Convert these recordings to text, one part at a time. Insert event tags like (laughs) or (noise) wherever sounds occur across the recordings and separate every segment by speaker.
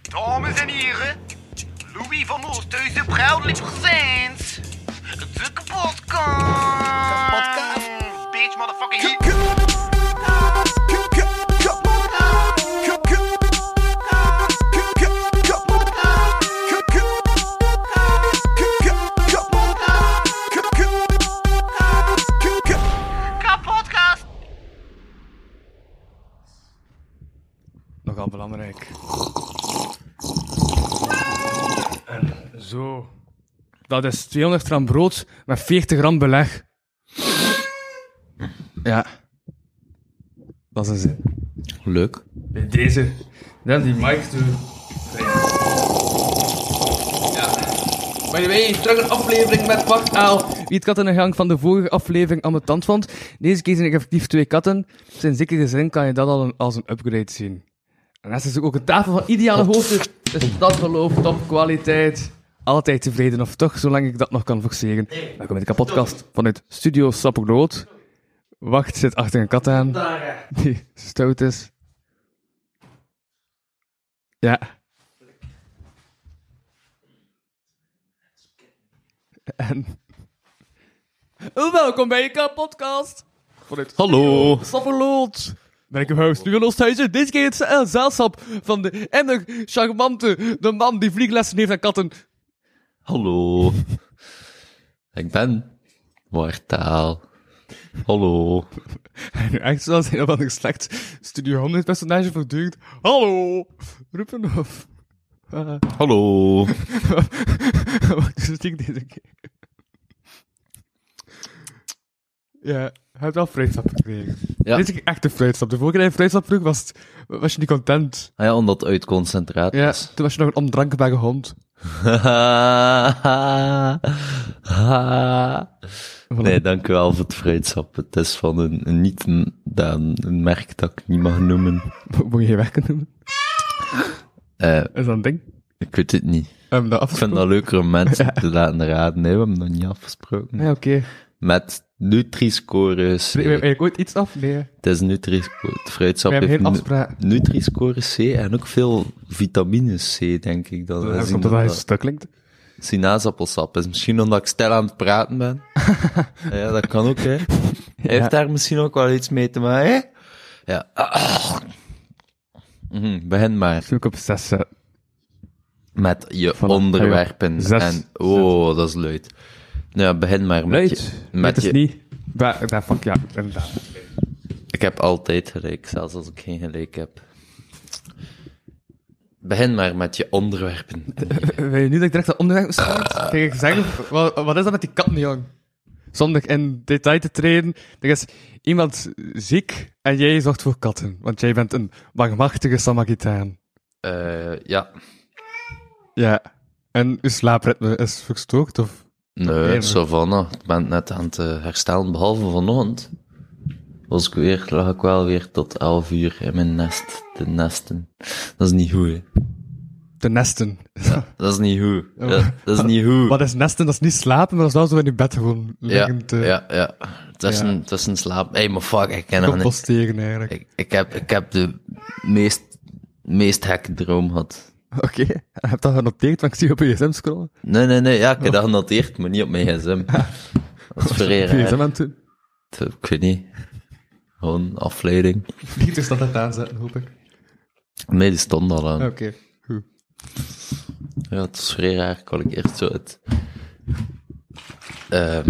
Speaker 1: Dames en heren, Louis van Oosthuizen, proudly presents de kapotkast.
Speaker 2: Kapotkast.
Speaker 1: Bitch, motherfucking heat. Kapotkast.
Speaker 3: Nogal belangrijk. En zo. Dat is 200 gram brood met 40 gram beleg. Ja. Dat is een zin.
Speaker 2: Leuk.
Speaker 3: Bij deze. Dan die mic doen.
Speaker 2: By the way, terug een aflevering met Bart Aal.
Speaker 3: Wie het kat in de gang van de vorige aflevering aan de tand vond, deze keer zijn er effectief twee katten. Dus in zekere zin kan je dat al een- als een upgrade zien. En dat is dus ook een tafel van ideale hoogte. Dus dat geloof, topkwaliteit. Altijd tevreden, of toch, zolang ik dat nog kan forceren. Welkom bij de kapotkast vanuit Studio Sapperlood. Wacht, zit achter een kat aan. Die stout is. Ja. En... Welkom bij je podcast. Vanuit
Speaker 2: Hallo.
Speaker 3: Sapperlood. Ben ik uw host, Nuon Oosthuizen. Dit keer het eh, gezelschap van de ender charmante, de man die vlieglessen heeft aan katten.
Speaker 2: Hallo. (laughs) Ik ben Bart Aal. Hallo.
Speaker 3: En nu echt zoals een of ander slecht Studio 100 personage voortdurend. Hallo, roepen (laughs) of... Eh,
Speaker 2: Hallo.
Speaker 3: Wacht, dus ik deze keer. Ja, hij heeft wel fruitstap gekregen.
Speaker 2: Ja.
Speaker 3: Dit is echt een fruitstap. De vorige keer dat je fruitstap vroeg, was, het- was je niet content.
Speaker 2: Ah ja, omdat het uit concentraat
Speaker 3: Ja,
Speaker 2: is. (laughs)
Speaker 3: toen was je nog een ondrankbare hond. (laughs)
Speaker 2: nee, dank u wel voor het fruitsap. Het is van een, een niet een, dat- een merk dat ik niet mag noemen.
Speaker 3: Moet je je werken noemen?
Speaker 2: Eh,
Speaker 3: Is dat een ding?
Speaker 2: ik weet het niet.
Speaker 3: Hebben we dat
Speaker 2: Ik vind
Speaker 3: afgesproken?
Speaker 2: dat leuker om (laughs) mensen te laten raden. Nee, we hebben dat niet afgesproken.
Speaker 3: Ja, oké.
Speaker 2: Met Nutri-score. C.
Speaker 3: Spreek je ooit iets af? Nee. hè?
Speaker 2: Het is Nutri-score. Het fruitsap
Speaker 3: We hebben
Speaker 2: heeft
Speaker 3: geen
Speaker 2: nu-
Speaker 3: afspraak.
Speaker 2: Nutri-score C en ook veel vitamine C, denk ik. Dat
Speaker 3: Dat
Speaker 2: is
Speaker 3: is omdat hij stuk klinkt.
Speaker 2: sinaasappelsap is. Misschien omdat ik stil aan het
Speaker 3: (laughs)
Speaker 2: praten ben. ja, dat kan ook, hè. Heeft daar misschien ook wel iets mee te maken, hè? Ja. (clears throat) Mhm, begin maar
Speaker 3: Zoek op eh, 6 zetten.
Speaker 2: met je
Speaker 3: Voilà, ga je
Speaker 2: onderwerpen.
Speaker 3: op. Zes.
Speaker 2: En, oh, dat is luid. Nou, ja, begin maar met
Speaker 3: Luid.
Speaker 2: je... Met
Speaker 3: Het is
Speaker 2: je
Speaker 3: niet. Bah, bah, fuck ja, inderdaad.
Speaker 2: ik heb altijd gelijk, zelfs als ik geen gelijk heb. Begin maar met je
Speaker 3: (laughs)
Speaker 2: onderwerpen.
Speaker 3: Weet je nu dat ik direct dat onderwerp bespreek? Kijk, ik zeg, wat, wat is dat met die katten, jong? Zonder in detail te treden, er is iemand ziek en jij zorgt voor katten. Want jij bent een barmhartige Samaritaan.
Speaker 2: Eh, ja.
Speaker 3: Ja. En uw slaapritme is verstoord, of?
Speaker 2: Nee,
Speaker 3: Problemen.
Speaker 2: Savannah. Ik ben net aan het eh, herstellen, behalve vanochtend. Was ik weer, lag ik wel weer tot 11 uur in mijn nest te nesten. Dat is niet goed, hè.
Speaker 3: Te nesten.
Speaker 2: Dat is niet goed.
Speaker 3: Oh.
Speaker 2: Ja, dat is niet goed.
Speaker 3: Wat is nesten? Dat is niet slapen, maar dat is wel zo in je bed gewoon
Speaker 2: Ja,
Speaker 3: liggen te
Speaker 2: ja, ja. Tussen,
Speaker 3: eh, Ja.
Speaker 2: tussen slaap. Hé, hey, maar fuck, ik ken hem niet.
Speaker 3: composteren, eigenlijk.
Speaker 2: Ik, ik, heb, ik heb de meest, meest hekke droom gehad.
Speaker 3: Oké, heb dat genoteerd, want ik zie je op je gsm scrollen.
Speaker 2: Nee, nee, nee, ja, ik heb
Speaker 3: Oh.
Speaker 2: dat genoteerd, maar niet op mijn
Speaker 3: (laughs)
Speaker 2: gsm. Dat is vrij
Speaker 3: Ah. Op je
Speaker 2: raar.
Speaker 3: gsm aan het doen.
Speaker 2: Ik weet niet. Gewoon afleiding.
Speaker 3: Niet dus dat het aanzetten, hoop ik.
Speaker 2: Nee, die stond al aan.
Speaker 3: Oké, goed.
Speaker 2: Ja, het is vrij raar. Kan ik eerst zo het... Ehm.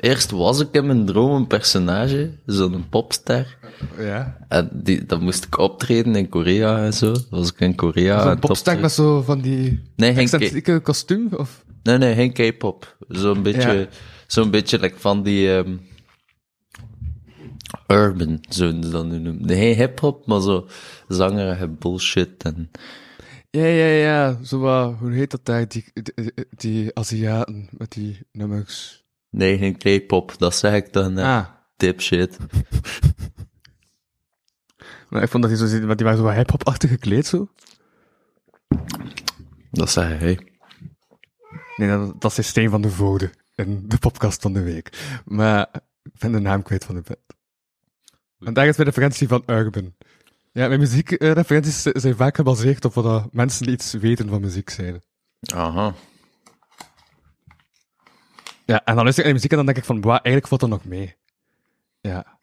Speaker 2: eerst was ik in mijn droom een personage, zo'n popster.
Speaker 3: Ja.
Speaker 2: En die, dan moest ik optreden in Korea en zo. Was ik in Korea. aan
Speaker 3: Zo'n
Speaker 2: het
Speaker 3: popstek
Speaker 2: optreden.
Speaker 3: met zo van die
Speaker 2: Ah, Nee, geen
Speaker 3: excentrieke kostuum? Of...
Speaker 2: Nee, nee, geen K-pop. Zo'n beetje,
Speaker 3: Ja.
Speaker 2: zo'n beetje like van die ehm, urban, zo'n ze dat nu noemen. Nee, geen hip-hop, maar zo zangerige bullshit. En,
Speaker 3: Ja, ja, ja. Zo wat, hoe heet dat daar? Die, die, die Aziaten met die nummers.
Speaker 2: nee, geen K-pop, dat zeg ik dan. hè.
Speaker 3: Ah.
Speaker 2: Dipshit.
Speaker 3: Maar ik vond dat die zo zitten, want die waren zo wat hip-hop-achtig gekleed zo.
Speaker 2: Dat zei hij.
Speaker 3: Nee, dat, dat is Steen van de Voorde in de podcast van de week. Maar ik ben de naam kwijt van de band. En daar is mijn referentie van Urban. Ja, mijn muziekreferenties zi- zijn vaak gebaseerd op wat dat mensen die iets weten van muziek zijn.
Speaker 2: Aha.
Speaker 3: Ja, en dan luister ik naar de muziek en dan denk ik van, wauw, eigenlijk valt dat nog mee. Ja.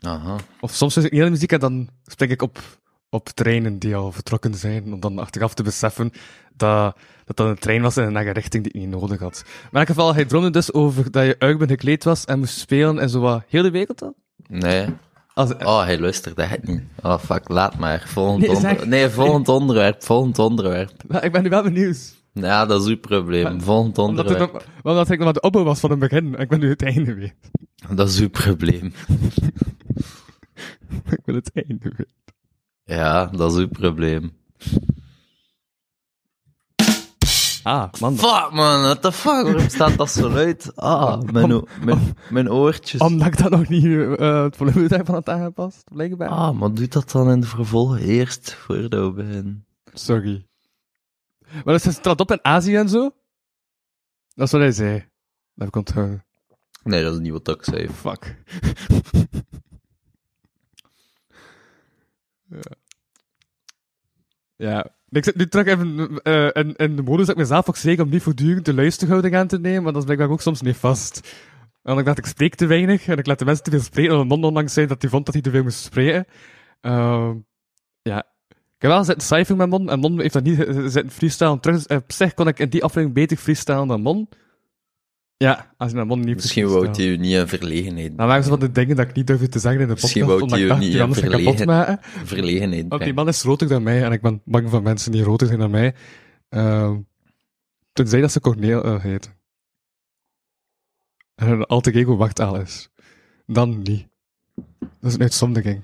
Speaker 2: Aha.
Speaker 3: Of soms luister ik niet naar de muziek en dan spring ik op, op treinen die al vertrokken zijn, om dan achteraf te beseffen dat dat, dat een trein was in een eigen richting die ik niet nodig had. Maar in elk geval, hij droomde dus over dat je uitbund gekleed was en moest spelen en zo wat heel de wereld dan?
Speaker 2: Nee.
Speaker 3: Als, (laughs)
Speaker 2: Oh, hij luistert echt niet. Oh, fuck, laat maar. Volgend
Speaker 3: Nee,
Speaker 2: onderwerp.
Speaker 3: zeg.
Speaker 2: Nee, volgend onderwerp. Volgend onderwerp.
Speaker 3: Maar ik ben nu wel benieuwd.
Speaker 2: Ja, dat is uw probleem. Volgend
Speaker 3: Omdat, het
Speaker 2: onderwerp.
Speaker 3: nog, omdat ik nog maar de opbouw was van het begin en ik ben nu het einde weer. (laughs)
Speaker 2: Dat is uw probleem.
Speaker 3: Ik wil het einde weer.
Speaker 2: Ja, dat is uw probleem.
Speaker 3: Ah, man.
Speaker 2: Fuck, man. What the fuck? Waarom staat dat zo luid? Ah, mijn, o- mijn, mijn oortjes.
Speaker 3: Omdat ik dat nog niet eh, het volume daarvan had aangepast, blijkbaar.
Speaker 2: Ah, maar doe dat dan in de vervolg eerst, voordat we beginnen.
Speaker 3: Sorry. Maar dus, ze trad op in Azië en zo. Dat is wat hij zei. Dat heb ik onthouden.
Speaker 2: Nee, dat is niet wat ik zei.
Speaker 3: Fuck. (laughs) ja. ja. Ik zit nu terug even eh, in, in de modus dat ik mezelf ook zeker om niet voortdurend de luisterhouding aan te nemen, maar dat is blijkbaar ook soms niet vast. En ik dacht, ik spreek te weinig en ik laat de mensen te veel spreken. En een non onlangs zei dat hij vond dat hij te veel moest spreken. Ehm, ja. Ik heb wel zitten cijfer met Mon en Mon heeft dat niet eh, zitten freestylen terug. Dus, eh, op zich kon ik in die aflevering beter freestylen dan Mon. Ja, als ik naar Mon niet
Speaker 2: Misschien
Speaker 3: freestyle.
Speaker 2: wou hij u niet in verlegenheid,
Speaker 3: Dan waren ze van de dingen dat ik niet durfde te zeggen in de podcast.
Speaker 2: Misschien wou
Speaker 3: omdat
Speaker 2: die
Speaker 3: ik
Speaker 2: je
Speaker 3: dacht,
Speaker 2: niet
Speaker 3: die anders gaan kapot
Speaker 2: verlegen.
Speaker 3: maken.
Speaker 2: verlegenheid
Speaker 3: Want die
Speaker 2: brengen.
Speaker 3: man is roter dan mij en ik ben bang van mensen die roter zijn dan mij. Ehm tenzij dat ze Corneel eh, heet. En een alter ego wachtaal is. Dan niet. Dat is een uitzondering.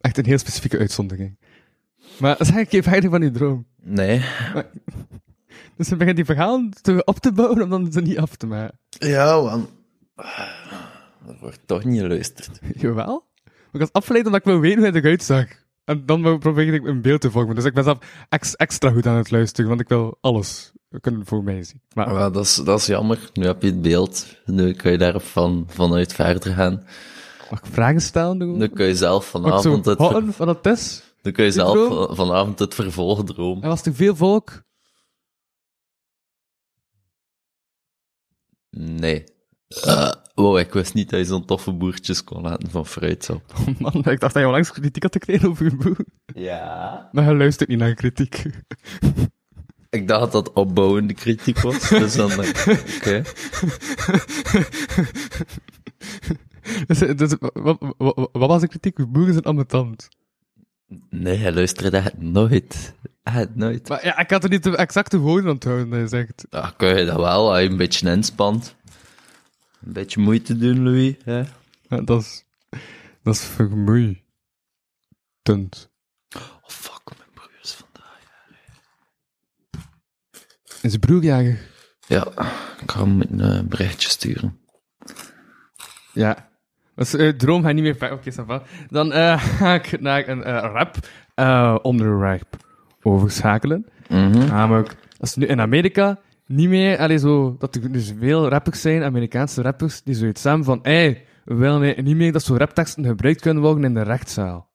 Speaker 3: Echt een heel specifieke uitzondering. Maar zeg ik je verder van die droom.
Speaker 2: Nee.
Speaker 3: Dus ze begint die verhalen te, op te bouwen om dan ze niet af te maken.
Speaker 2: Ja, want... Er wordt toch niet geluisterd.
Speaker 3: Jawel. Maar Ik was afgeleid omdat ik wil weten hoe hij eruit zag. En dan wou- probeerde ik een beeld te vormen. Dus ik ben zelf ex- extra goed aan het luisteren, want ik wil alles kunnen voor mij zien. Maar
Speaker 2: Ja, Ah, dat, is, dat is jammer. Nu heb je het beeld. Nu kan je daar van, vanuit verder gaan.
Speaker 3: mag ik vragen stellen? Doe?
Speaker 2: Nu kan je zelf
Speaker 3: mag ik zo
Speaker 2: vanavond het, ver-
Speaker 3: houden van dat is?
Speaker 2: nu kan je
Speaker 3: die
Speaker 2: zelf
Speaker 3: droom?
Speaker 2: van- vanavond het vervolg dromen.
Speaker 3: En was er veel volk?
Speaker 2: Nee. Eh, wow, ik wist niet dat je zo'n toffe boertjes kon laten van fruitsap.
Speaker 3: Oh man, ik dacht dat je al langs kritiek had gekregen over je boek.
Speaker 2: Ja.
Speaker 3: Maar hij luistert niet naar kritiek.
Speaker 2: Ik dacht dat dat opbouwende kritiek was. Dus dan dacht ik, oké.
Speaker 3: (laughs) Dus, dus, wat, wat- wat was de kritiek? Uw boer is een ambetant.
Speaker 2: Nee, hij luisterde echt nooit. Echt nooit.
Speaker 3: Maar ja, ik had er niet de exacte woorden onthouden dat je zegt.
Speaker 2: Ja, kun je dat wel, als je een beetje inspant. Een beetje moeite doen, Louis. Hè?
Speaker 3: Ja, dat is... Dat is vermoeiend.
Speaker 2: Oh, fuck, mijn broer is vandaag.
Speaker 3: Is broerjager.
Speaker 2: Ja, ik ga hem een eh, berichtje sturen.
Speaker 3: Ja. Dus eh, droom hij niet meer ver. Oké, ça va. Dan eh, (laughs) ga ik naar een eh, rap eh onderwerp overschakelen.
Speaker 2: Mhm.
Speaker 3: Namelijk, dat is nu in Amerika niet meer, allee, zo, dat er dus veel rappers zijn, Amerikaanse rappers, die zoiets samen van, hey, we willen eh, niet meer dat zo'n rapteksten gebruikt kunnen worden in de rechtszaal.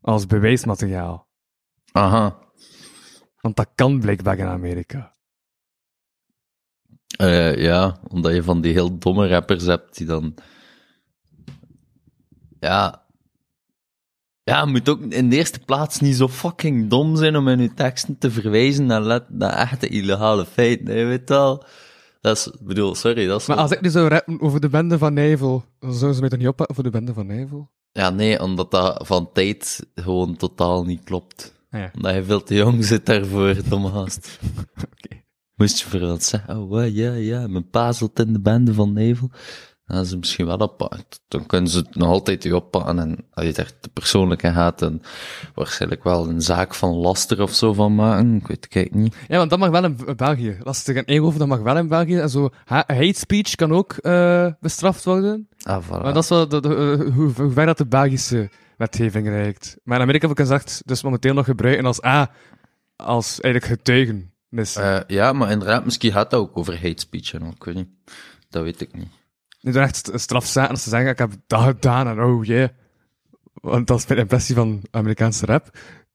Speaker 3: Als bewijsmateriaal.
Speaker 2: Aha.
Speaker 3: Want dat kan blijkbaar in Amerika.
Speaker 2: Eh, ja, omdat je van die heel domme rappers hebt die dan. Ja. Ja, je moet ook in de eerste plaats niet zo fucking dom zijn om in je teksten te verwijzen naar, let, naar echte illegale feiten. hè, Je weet wel. Dat is, ik bedoel, sorry, dat is.
Speaker 3: Maar als ik nu zou rappen over de bende van Nijvel, dan zouden ze mij toch niet oppakken voor de bende van Nijvel?
Speaker 2: Ja, nee, omdat dat van tijd gewoon totaal niet klopt.
Speaker 3: Ah ja,
Speaker 2: Omdat je veel te jong zit daarvoor, domme gast.
Speaker 3: (laughs) oké.
Speaker 2: Moest je voor wat zeggen, oh wa, ja, ja, mijn pa zat in de bende van Nevel. Dan ze misschien wel oppakken. Dan kunnen ze het nog altijd je oppakken. En als je daar te persoonlijk in gaat, dan waarschijnlijk wel een zaak van laster of zo van maken. Ik weet het kijk niet.
Speaker 3: Ja, want dat mag wel in B- België. Lastig en eeuwoven, dat mag wel in België. En zo, ha- hate speech kan ook eh, bestraft worden.
Speaker 2: Ah, voilà.
Speaker 3: Maar dat is wel de, de- eh, hoe, hoe ver dat de Belgische wetgeving reikt. Maar in Amerika heb ik gezegd, dus momenteel nog gebruiken als A, als eigenlijk getuigen. Dus,
Speaker 2: Eh, ja, maar inderdaad, misschien gaat dat ook over hate speech en al, ik weet niet. Dat weet ik niet.
Speaker 3: nu doen echt strafzaken als ze zeggen, ik heb dat gedaan en oh jee. Want dat is mijn impressie van Amerikaanse rap.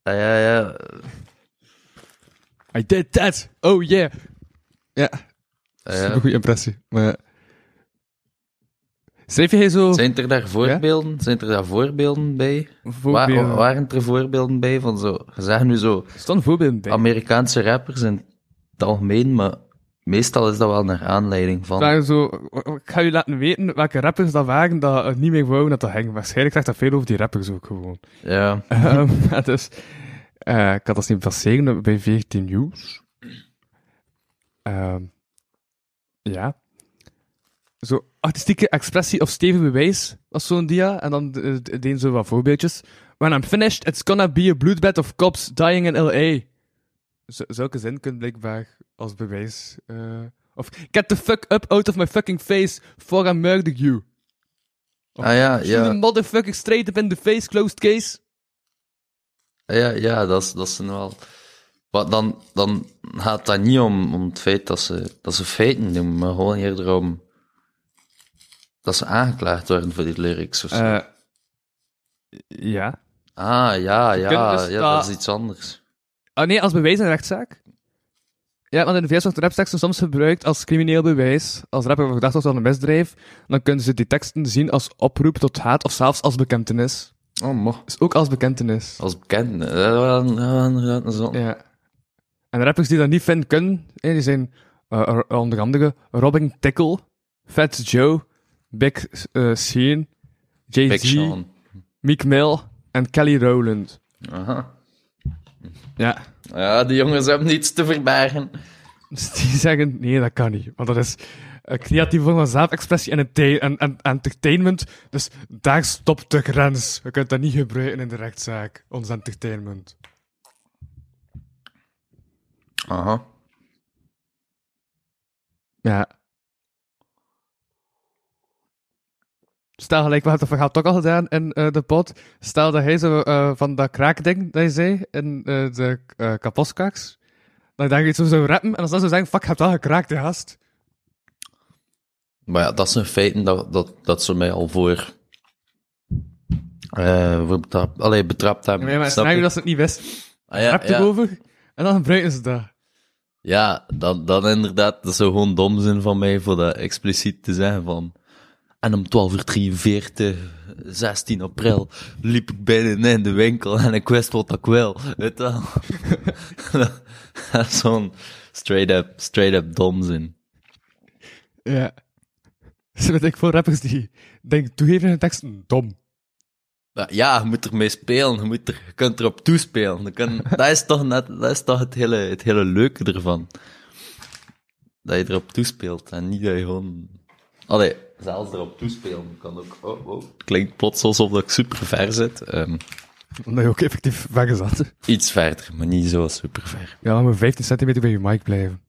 Speaker 2: Ja, ja, ja.
Speaker 3: I did that! Oh yeah! Ja, dat is
Speaker 2: ja.
Speaker 3: een goede impressie. Maar... Schreef jij zo
Speaker 2: Zijn er daar voorbeelden? Zijn er daar voorbeelden bij? Waar,
Speaker 3: voorbeelden?
Speaker 2: waren er voorbeelden bij van zo? Je zegt nu zo
Speaker 3: Er staan voorbeelden
Speaker 2: Ah,
Speaker 3: bij.
Speaker 2: Amerikaanse rappers in het algemeen, maar meestal is dat wel naar aanleiding van.
Speaker 3: Daar zo, ik ga je laten weten welke rappers dat waren dat het niet meer wouden dat dat hing. Waarschijnlijk zegt dat veel over die rappers ook gewoon.
Speaker 2: Ja.
Speaker 3: Ehm, (laughs) maar dus, eh, ik had dat zien passeren bij 14 News. Ehm, ja. Zo, artistieke expressie of stevig bewijs was zo'n dia. En dan eh, d- deden ze wat voorbeeldjes. When I'm finished, it's gonna be a bloedbed of cops dying in L.A. Z- zulke zin kunt blijkbaar als bewijs... eh, of, get the fuck up out of my fucking face, for I murder you.
Speaker 2: Ah ja,
Speaker 3: Shoot the
Speaker 2: ja.
Speaker 3: motherfucking straight up in the face, closed case.
Speaker 2: Ja, ja dat, is, dat zijn wel. Maar dan, dan gaat dat niet om, om het feit dat ze, dat ze feiten doen, maar gewoon eerder om dat ze aangeklaagd worden voor die lyrics of zo.
Speaker 3: Eh, ja.
Speaker 2: ah, ja, ja,
Speaker 3: kunt dus
Speaker 2: ja,
Speaker 3: dat-
Speaker 2: dat is iets anders.
Speaker 3: Ah nee, als bewijs in een rechtszaak. Ja, want in de VS wordt rapteksten soms gebruikt als crimineel bewijs. Als rapper verdacht wordt van een misdrijf, dan kunnen ze die teksten zien als oproep tot haat of zelfs als bekentenis.
Speaker 2: Oh, mo.
Speaker 3: Dus ook als bekentenis.
Speaker 2: Als bekend. eh, Ja, ja, inderdaad, dat is wel-
Speaker 3: Ja. En rappers die dat niet vinden kunnen, hè, die zijn eh, er- onder andere Robin Tickle, Fat Joe, Big eh, Sean,
Speaker 2: Big
Speaker 3: Jay-Z,
Speaker 2: Sean.
Speaker 3: Meek Mill en Kelly Rowland.
Speaker 2: Aha.
Speaker 3: Ja.
Speaker 2: Ja, die jongens hebben niets te verbergen.
Speaker 3: Dus die zeggen, nee, dat kan niet. Want dat is een creatieve vorm van zelfexpressie en, ente- en, en entertainment. Dus daar stopt de grens. Je kunt dat niet gebruiken in de rechtszaak, ons entertainment.
Speaker 2: Aha.
Speaker 3: Ja. Stel gelijk, we hebben het verhaal toch al gedaan in eh, de pot. Stel dat hij zo eh, van dat kraakding dat je zei in eh, de eh kapotkaks. Dan denk je iets over zou rappen en dan zou ze zeggen: Fuck, je hebt wel gekraakt, die gast.
Speaker 2: Maar ja, dat zijn feiten dat, dat, dat ze mij al voor, eh voor betrapt, allee, betrapt hebben.
Speaker 3: Ja, maar
Speaker 2: Snap
Speaker 3: snap je
Speaker 2: je?
Speaker 3: dat ze het niet wist.
Speaker 2: Ah, ja,
Speaker 3: Rap
Speaker 2: ja.
Speaker 3: erover en dan gebruiken ze dat.
Speaker 2: Ja, dan, dan inderdaad, dat zou gewoon dom zijn van mij voor dat expliciet te zeggen van. En om 12 uur 43, 16 april, liep ik binnen in de winkel en ik wist wat ik wil. Weet je wel? (laughs) Dat is Zo'n straight up, straight up dom zijn.
Speaker 3: Ja. Ze weet ik veel rappers die denken toegeven in hun teksten dom.
Speaker 2: Ja, Ja, je moet ermee spelen, je, moet er, je kunt erop toespelen. Je kunt- (laughs) dat is toch, net, dat is toch het, hele, het hele leuke ervan. Dat je erop toespeelt en niet dat je gewoon... Allee, zelfs erop toespelen kan ook... Oh, oh, het klinkt plots alsof dat ik super ver zit. Ehm,
Speaker 3: Omdat je ook effectief weggezat.
Speaker 2: iets verder, maar niet zo super ver.
Speaker 3: Ja, maar 15 centimeter bij je mic blijven.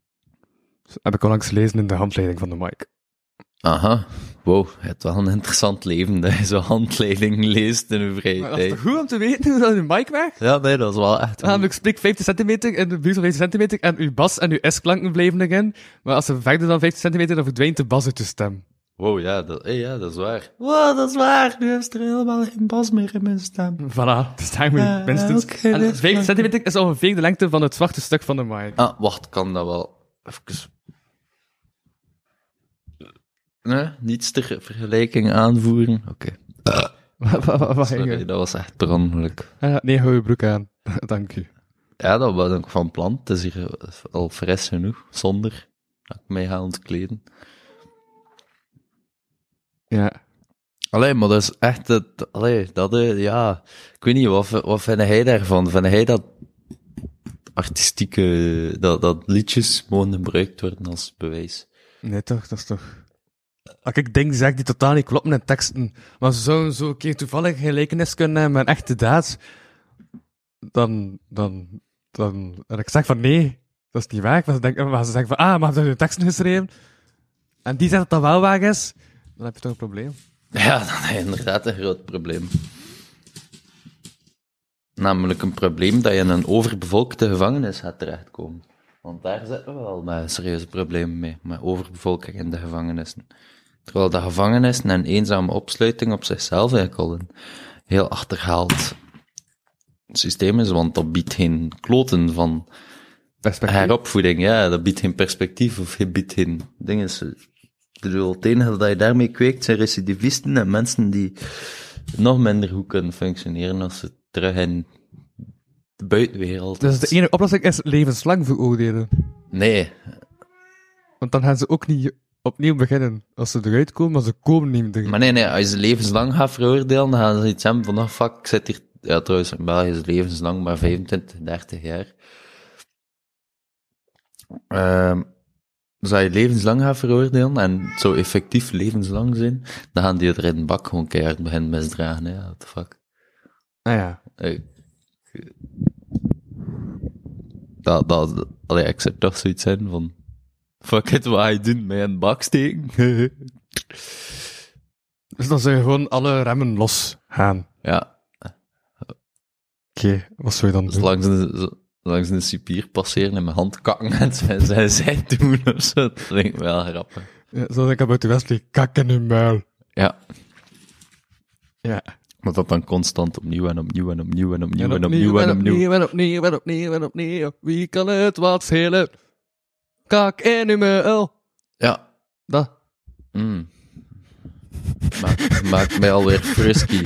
Speaker 3: Dat heb ik al langs gelezen in de handleiding van de mic.
Speaker 2: Aha, wow, je hebt wel een interessant leven dat je zo'n handleiding leest in je vrije tijd.
Speaker 3: goed om te weten hoe dat je mic werkt?
Speaker 2: Ja, nee, dat is wel echt...
Speaker 3: Namelijk, spreek 15 centimeter in de buurt van 15 centimeter en uw bas en uw S-klanken blijven erin. Maar als ze verder dan 15 centimeter, dan verdwijnt de bas uit je stem.
Speaker 2: Wow, ja dat, hey, ja, dat is waar. Wow, dat is waar. Nu heeft er helemaal geen bas meer in mijn stem.
Speaker 3: Voilà, dus daar moet je
Speaker 2: Ja,
Speaker 3: minstens...
Speaker 2: oké,
Speaker 3: en
Speaker 2: dit-
Speaker 3: 15 centimeter is ongeveer de lengte van het zwarte stuk van de mic.
Speaker 2: Ah, wacht, kan dat wel. Even. eh, Nee, niets ter vergelijking aanvoeren. Oké,
Speaker 3: Wat- wat- wat- wat-
Speaker 2: sorry, dat was echt per ongeluk.
Speaker 3: Ah, Nee, hou je broek aan. Dank u.
Speaker 2: Ja, dat was ik van plan. Het is hier al fris genoeg, zonder dat ik mij ga ontkleden.
Speaker 3: Ja.
Speaker 2: Allee, maar dat is echt het... Allee, dat eh, ja... Ik weet niet, wat, wat vind hij daarvan? Vind hij dat artistieke... Dat, dat liedjes mogen gebruikt worden als bewijs?
Speaker 3: Nee, toch, dat is toch. Als ik dingen zeg die totaal niet kloppen in teksten, maar zo, zo een keer toevallig gelijkenis kunnen hebben met een echte daad, dan, dan, dan, en ik zeg van nee, dat is niet waar. Maar ze, denken, maar ze zeggen van, ah, maar heb je teksten geschreven? En die zegt dat dat wel waar is, dan heb je toch een probleem.
Speaker 2: Ja, (laughs) dat is inderdaad een groot probleem. Namelijk een probleem dat je in een overbevolkte gevangenis gaat terechtkomen. Want daar zitten we wel met serieuze problemen mee, met overbevolking in de gevangenissen. Terwijl de gevangenissen en eenzame opsluiting op zichzelf eigenlijk al een heel achterhaald systeem is, want dat biedt geen kloten van
Speaker 3: Perspectief.
Speaker 2: heropvoeding. Ja, dat biedt geen perspectief of het biedt geen dingen. Ik bedoel, het enige dat je daarmee kweekt zijn recidivisten en mensen die nog minder goed kunnen functioneren als ze terug in de buitenwereld.
Speaker 3: Dus de enige oplossing is levenslang veroordelen.
Speaker 2: Nee,
Speaker 3: Want dan gaan ze ook niet opnieuw beginnen. Als ze eruit komen, maar ze komen niet meer.
Speaker 2: Maar nee, nee, als je ze levenslang gaat veroordelen, dan gaan ze iets hebben van, ah, fuck, ik zit hier... Ja, trouwens, in België is het levenslang maar 25, 30 jaar. Ehm zou je levenslang gaan veroordelen en het zou effectief levenslang zijn, dan gaan die het er in de bak gewoon keihard beginnen misdragen, hè. What the fuck.
Speaker 3: Ah ja.
Speaker 2: Ey. Dat, dat, allee, ik zou toch zoiets zijn van, fuck it, wat hij doet, mij in de bak steken. (laughs)
Speaker 3: Dus dan zou je gewoon alle remmen los gaan.
Speaker 2: ja.
Speaker 3: Oké, wat zou je dan
Speaker 2: Dus
Speaker 3: doen?
Speaker 2: langs een, zo- langs een cipier passeren en mijn hand kakken en (laughs) zij, zij, zij doen of zo. Dat vind ik wel grappig.
Speaker 3: Ja, zoals ik heb uit de Wesley, kak in hun muil.
Speaker 2: Ja,
Speaker 3: Ja.
Speaker 2: maar dat dan constant opnieuw en opnieuw en opnieuw en opnieuw en
Speaker 3: en
Speaker 2: opnieuw en opnieuw.
Speaker 3: en opnieuw, en opnieuw, en opnieuw. Wie kan het wat schelen? Kak in uw muil.
Speaker 2: Ja,
Speaker 3: Dat.
Speaker 2: mm. Maakt, maakt mij alweer frisky.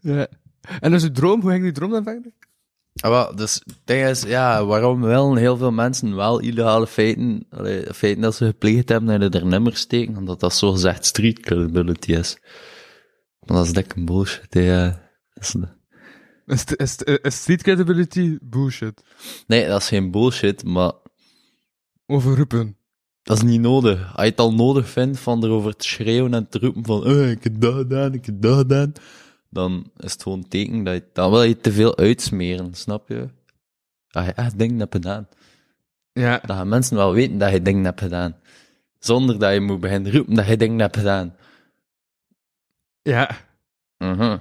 Speaker 3: Ja. En dus uw droom, hoe ging die droom dan verder?
Speaker 2: Ah, wel, dus het ding is, ja, waarom wel heel veel mensen wel illegale feiten, allee, feiten dat ze gepleegd hebben, dat er nummer steken, omdat dat zo gezegd street credibility is. Maar dat is dikke bullshit, hè. eh. Dat is-
Speaker 3: Is, het- is, het- is street credibility bullshit?
Speaker 2: Nee, dat is geen bullshit, maar
Speaker 3: Overroepen.
Speaker 2: Dat is niet nodig. Als je het al nodig vindt van erover te schreeuwen en te roepen van eh, ik heb dat gedaan, ik heb dat gedaan, dan is het gewoon een teken dat je, dan wil je te veel uitsmeren, snap je? Dat je echt dingen hebt gedaan.
Speaker 3: Ja.
Speaker 2: Dat gaan mensen wel weten dat je dingen hebt gedaan. Zonder dat je moet beginnen roepen dat je dingen hebt gedaan.
Speaker 3: Ja.
Speaker 2: Mhm.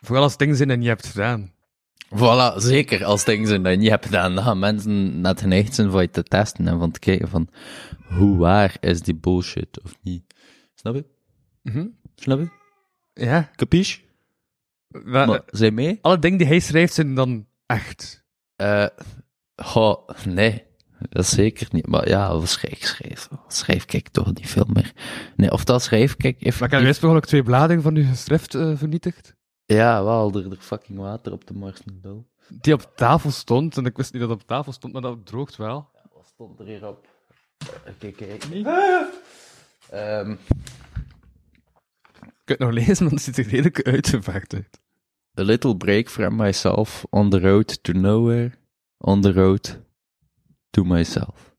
Speaker 3: Vooral als dingen zijn en je hebt gedaan.
Speaker 2: Voilà, zeker als dingen zijn dat je niet hebt gedaan, dan gaan mensen net geneigd zijn voor je te testen en van te kijken van hoe waar is die bullshit of niet. Snap je? Snap je?
Speaker 3: Ja.
Speaker 2: Capiche?
Speaker 3: Maar,
Speaker 2: Maar,
Speaker 3: eh,
Speaker 2: zijn mee?
Speaker 3: alle dingen die hij schrijft zijn dan echt.
Speaker 2: Eh, goh, nee. Dat is zeker niet. Maar ja, wat schrijf, schrijf, schrijf ik toch niet veel meer. Nee, of dat schrijf ik even.
Speaker 3: Maar ik heb eerst per ongeluk twee bladeren van uw geschrift eh, vernietigd.
Speaker 2: Ja, wel, er, er fucking water op de Mars Nobel.
Speaker 3: Die op tafel stond. En ik wist niet dat het op tafel stond, maar dat droogt wel.
Speaker 2: Wat stond er hier op? Kijk, kijk. niet. Ehm,
Speaker 3: Je kunt het nog lezen, want het ziet er redelijk uitgevaagd uit.
Speaker 2: a little break from myself on the road to nowhere, on the road to myself.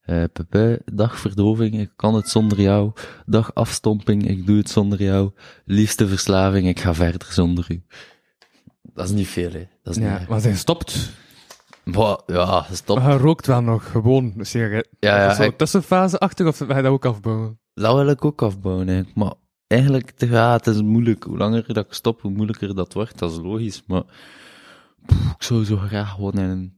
Speaker 2: Eh, pepe, dag verdoving, ik kan het zonder jou. Dag afstomping, ik doe het zonder jou. Liefste verslaving, ik ga verder zonder u. Dat is niet veel, hè. Dat is
Speaker 3: Ja,
Speaker 2: niet
Speaker 3: maar hij stopt.
Speaker 2: Boah, ja, stop.
Speaker 3: Maar hij rookt wel nog gewoon een sigaret.
Speaker 2: Ja, ja,
Speaker 3: is dat
Speaker 2: ik-
Speaker 3: een tussenfase achter of ga je dat ook afbouwen?
Speaker 2: Dat wil ik ook afbouwen, eigenlijk. Maar eigenlijk, ja, het is moeilijk. Hoe langer dat ik stop, hoe moeilijker dat wordt. Dat is logisch. Maar pff, ik zou zo graag gewoon in een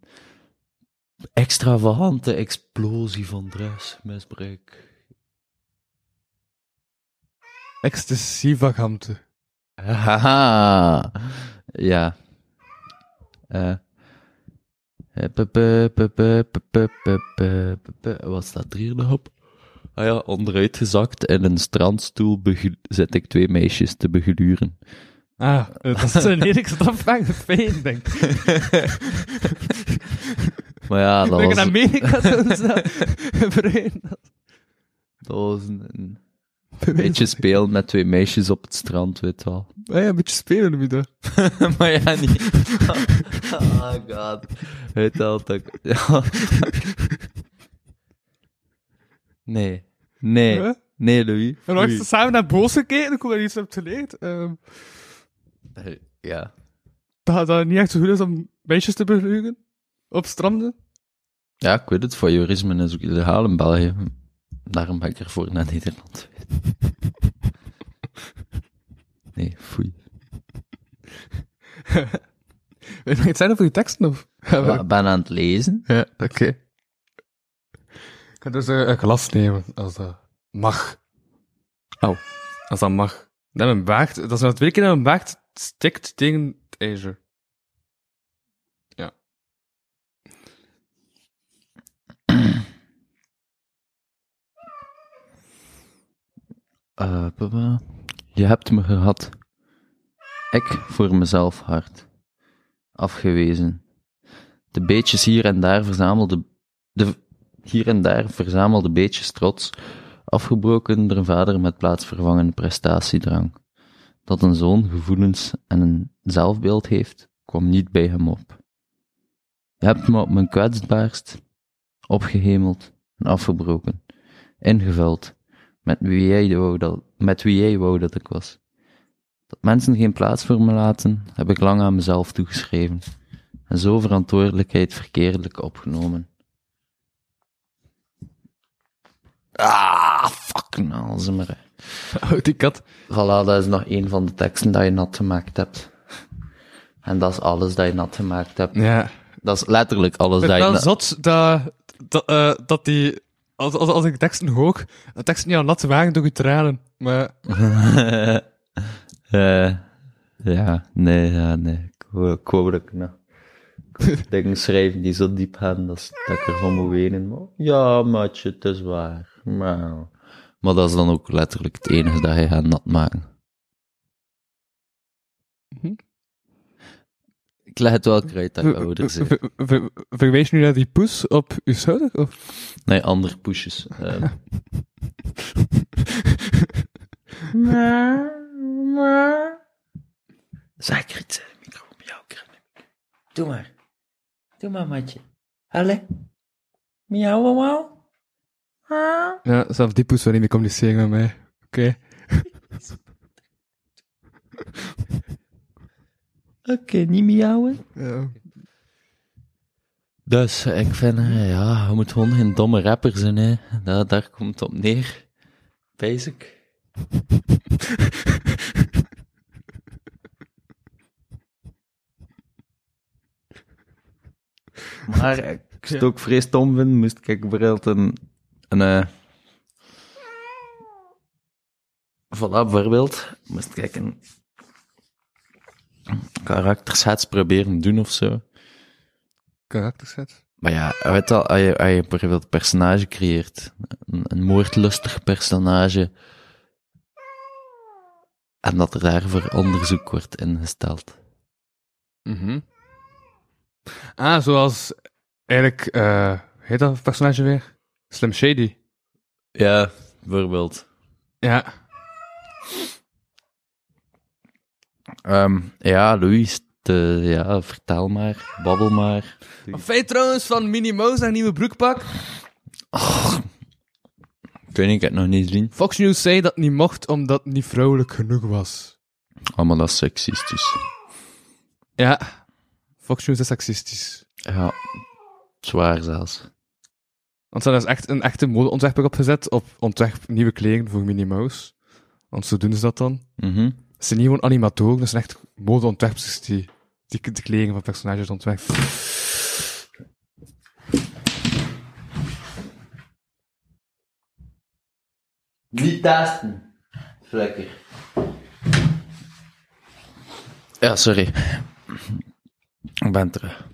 Speaker 2: extravagante explosie van drugsmisbruik.
Speaker 3: Ecstasivagante.
Speaker 2: Haha. Ja. Eh. Eh, pe- pe- pe- pe- pe- pe- pe- pe- pe- pe- Wat staat er hier nog op? Ah ja, onderuitgezakt in een strandstoel begu- zet ik twee meisjes te begluren.
Speaker 3: Ah, eh, dat is een redelijk strafbare fijn, denk ik.
Speaker 2: Maar ja, dat
Speaker 3: Denk in
Speaker 2: was,
Speaker 3: Amerika doen ze dat. (laughs) Vreemd.
Speaker 2: dat was een, een beetje spelen met twee meisjes op het strand, weet wel.
Speaker 3: Ah ja, een beetje spelen noem je dat.
Speaker 2: (laughs) maar ja, (laughs) niet. oh god. Weet wel dat ik- (laughs) Ja. Nee. Nee.
Speaker 3: Huh?
Speaker 2: Nee, Louis.
Speaker 3: En dan
Speaker 2: Louis.
Speaker 3: ze samen naar boos gekeken, ik hoop dat je iets hebt geleerd. Ehm,
Speaker 2: Hey, Eh, Ja.
Speaker 3: dat, dat het niet echt zo goed is om meisjes te bevliegen. Op stranden.
Speaker 2: Ja, ik weet het. Voyeurisme is ook illegaal in België. Daarom ben ik ervoor naar
Speaker 3: (laughs)
Speaker 2: Nederland. Nee, foei.
Speaker 3: Weet je nog iets zijn over je teksten, of? Ja,
Speaker 2: Ik ben aan het lezen.
Speaker 3: Ja, oké. Ik kan dus eh, een glas nemen, als dat mag. Oh, als dat mag. Dat mijn baard, dat is nou twee keer dat mijn baard stikt tegen het ijzer. Ja.
Speaker 2: Eh, papa, je hebt me gehad. Ik voor mezelf hard. Afgewezen. De beetjes hier en daar verzamelde... De hier en daar verzamelde beetjes trots. Afgebroken door een vader met plaatsvervangende prestatiedrang. Dat een zoon gevoelens en een zelfbeeld heeft, kwam niet bij hem op. Je hebt me op mijn kwetsbaarst opgehemeld en afgebroken. Ingevuld met wie jij wou dat, met wie jij wou dat ik was. Dat mensen geen plaats voor me laten, heb ik lang aan mezelf toegeschreven. En zo verantwoordelijkheid verkeerdelijk opgenomen. Ah, fucking alzemer.
Speaker 3: (laughs) Oh, die kat.
Speaker 2: Voilà, dat is nog een van de teksten dat je nat gemaakt hebt. En dat is alles dat je nat gemaakt hebt.
Speaker 3: Ja.
Speaker 2: Dat is letterlijk alles
Speaker 3: Ik
Speaker 2: dat
Speaker 3: ben
Speaker 2: je
Speaker 3: wel
Speaker 2: nat-
Speaker 3: zot dat, dat, eh, dat die... Als, als, als ik teksten hoor, de teksten niet al nat waren door je tranen. Maar
Speaker 2: Eh, ja, nee, ja, nee. Ik wou- Ik wou dat ik nou, ik wou dingen schrijven die zo diep gaan dat, is- dat ik ervan moet wenen. Maar, ja, maatje, het is waar. Maar, maar dat is dan ook letterlijk het enige dat je gaat nat maken.
Speaker 3: Mhm.
Speaker 2: Ik leg het wel
Speaker 3: (laughs)
Speaker 2: kruid dat je ouder zijn.
Speaker 3: ver, ver- verwijs je nu naar die poes op je schouder? Of?
Speaker 2: Nee, andere poesjes. ehm. (laughs) Zeker iets in eh, de micro om jou Doe maar. Doe maar, matje. Alle. Miauw, miauw.
Speaker 3: Ja, zelfs die poes wil niet meer communiceren met mij. Oké.
Speaker 2: Oké, niet miauwen.
Speaker 3: Ja.
Speaker 2: Dus ik vind, eh, ja, je moet gewoon geen domme rapper zijn, hè. Daar, daar komt het op neer. Basic. (laughs) maar ik zou het ook vrees stom vinden, moest ik bijvoorbeeld een... een eh, voilà, bijvoorbeeld, moest ik een karakterschets proberen doen of zo.
Speaker 3: Karakterset.
Speaker 2: Maar ja, weet al, als je, als je bijvoorbeeld een personage creëert, een, een moordlustig personage, en dat er daarvoor onderzoek wordt ingesteld.
Speaker 3: Mhm. Ah, zoals eigenlijk, eh heet dat personage weer? Slim Shady.
Speaker 2: Ja, bijvoorbeeld.
Speaker 3: Ja.
Speaker 2: Ehm, ja, Louis, de, ja, vertel maar, babbel maar.
Speaker 3: Feit trouwens van Minimo's naar nieuwe broekpak.
Speaker 2: Oh. Ik weet niet, ik heb het nog niet gezien.
Speaker 3: Fox News zei dat het niet mocht omdat het niet vrouwelijk genoeg was.
Speaker 2: Oh, maar dat is seksistisch.
Speaker 3: Ja. Fox News is seksistisch.
Speaker 2: Ja, zwaar zelfs.
Speaker 3: Want ze hebben dus echt een echte modeontwerper opgezet op ontwerp nieuwe kleren voor Minimo's. Want zo doen ze dat dan.
Speaker 2: Mhm.
Speaker 3: Het zijn niet gewoon animatoren, dat zijn echt modeontwerpers die, die de kleding van personages ontwerpen. (laughs)
Speaker 2: Niet taasten. Lekker. Ja, sorry. Ik ben terug.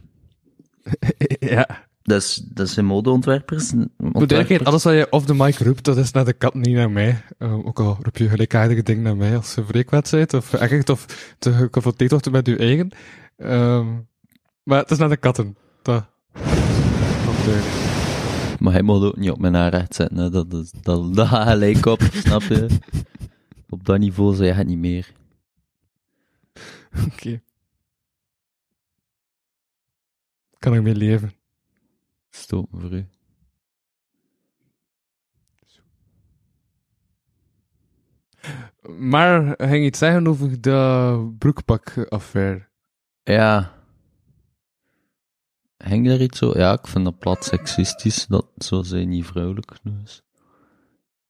Speaker 3: ja.
Speaker 2: Dat, is, dat zijn modeontwerpers.
Speaker 3: Voor de duidelijkheid, alles wat je off the mic roept, dat is naar de kat, niet naar mij. Eh, ook al roep je gelijkaardige dingen naar mij als je vreekwet bent, of echt of te geconfronteerd wordt met je eigen. Ehm, maar het is naar de katten. Dat. dat eh, duidelijk.
Speaker 2: Maar hij moet ook niet op mijn aanrecht zetten. Hè. Dat, dat, (laughs) dat, dat gaat gelijk op, snap je? Op dat niveau zei hij het niet meer.
Speaker 3: Oké. Kan ik mee leven.
Speaker 2: Stoot me voor u.
Speaker 3: Maar hij ging iets zeggen over de broekpakaffaire.
Speaker 2: Ja. Hing daar iets zo? Ja, ik vind dat plat seksistisch. Dat zo zijn niet vrouwelijk genoeg is.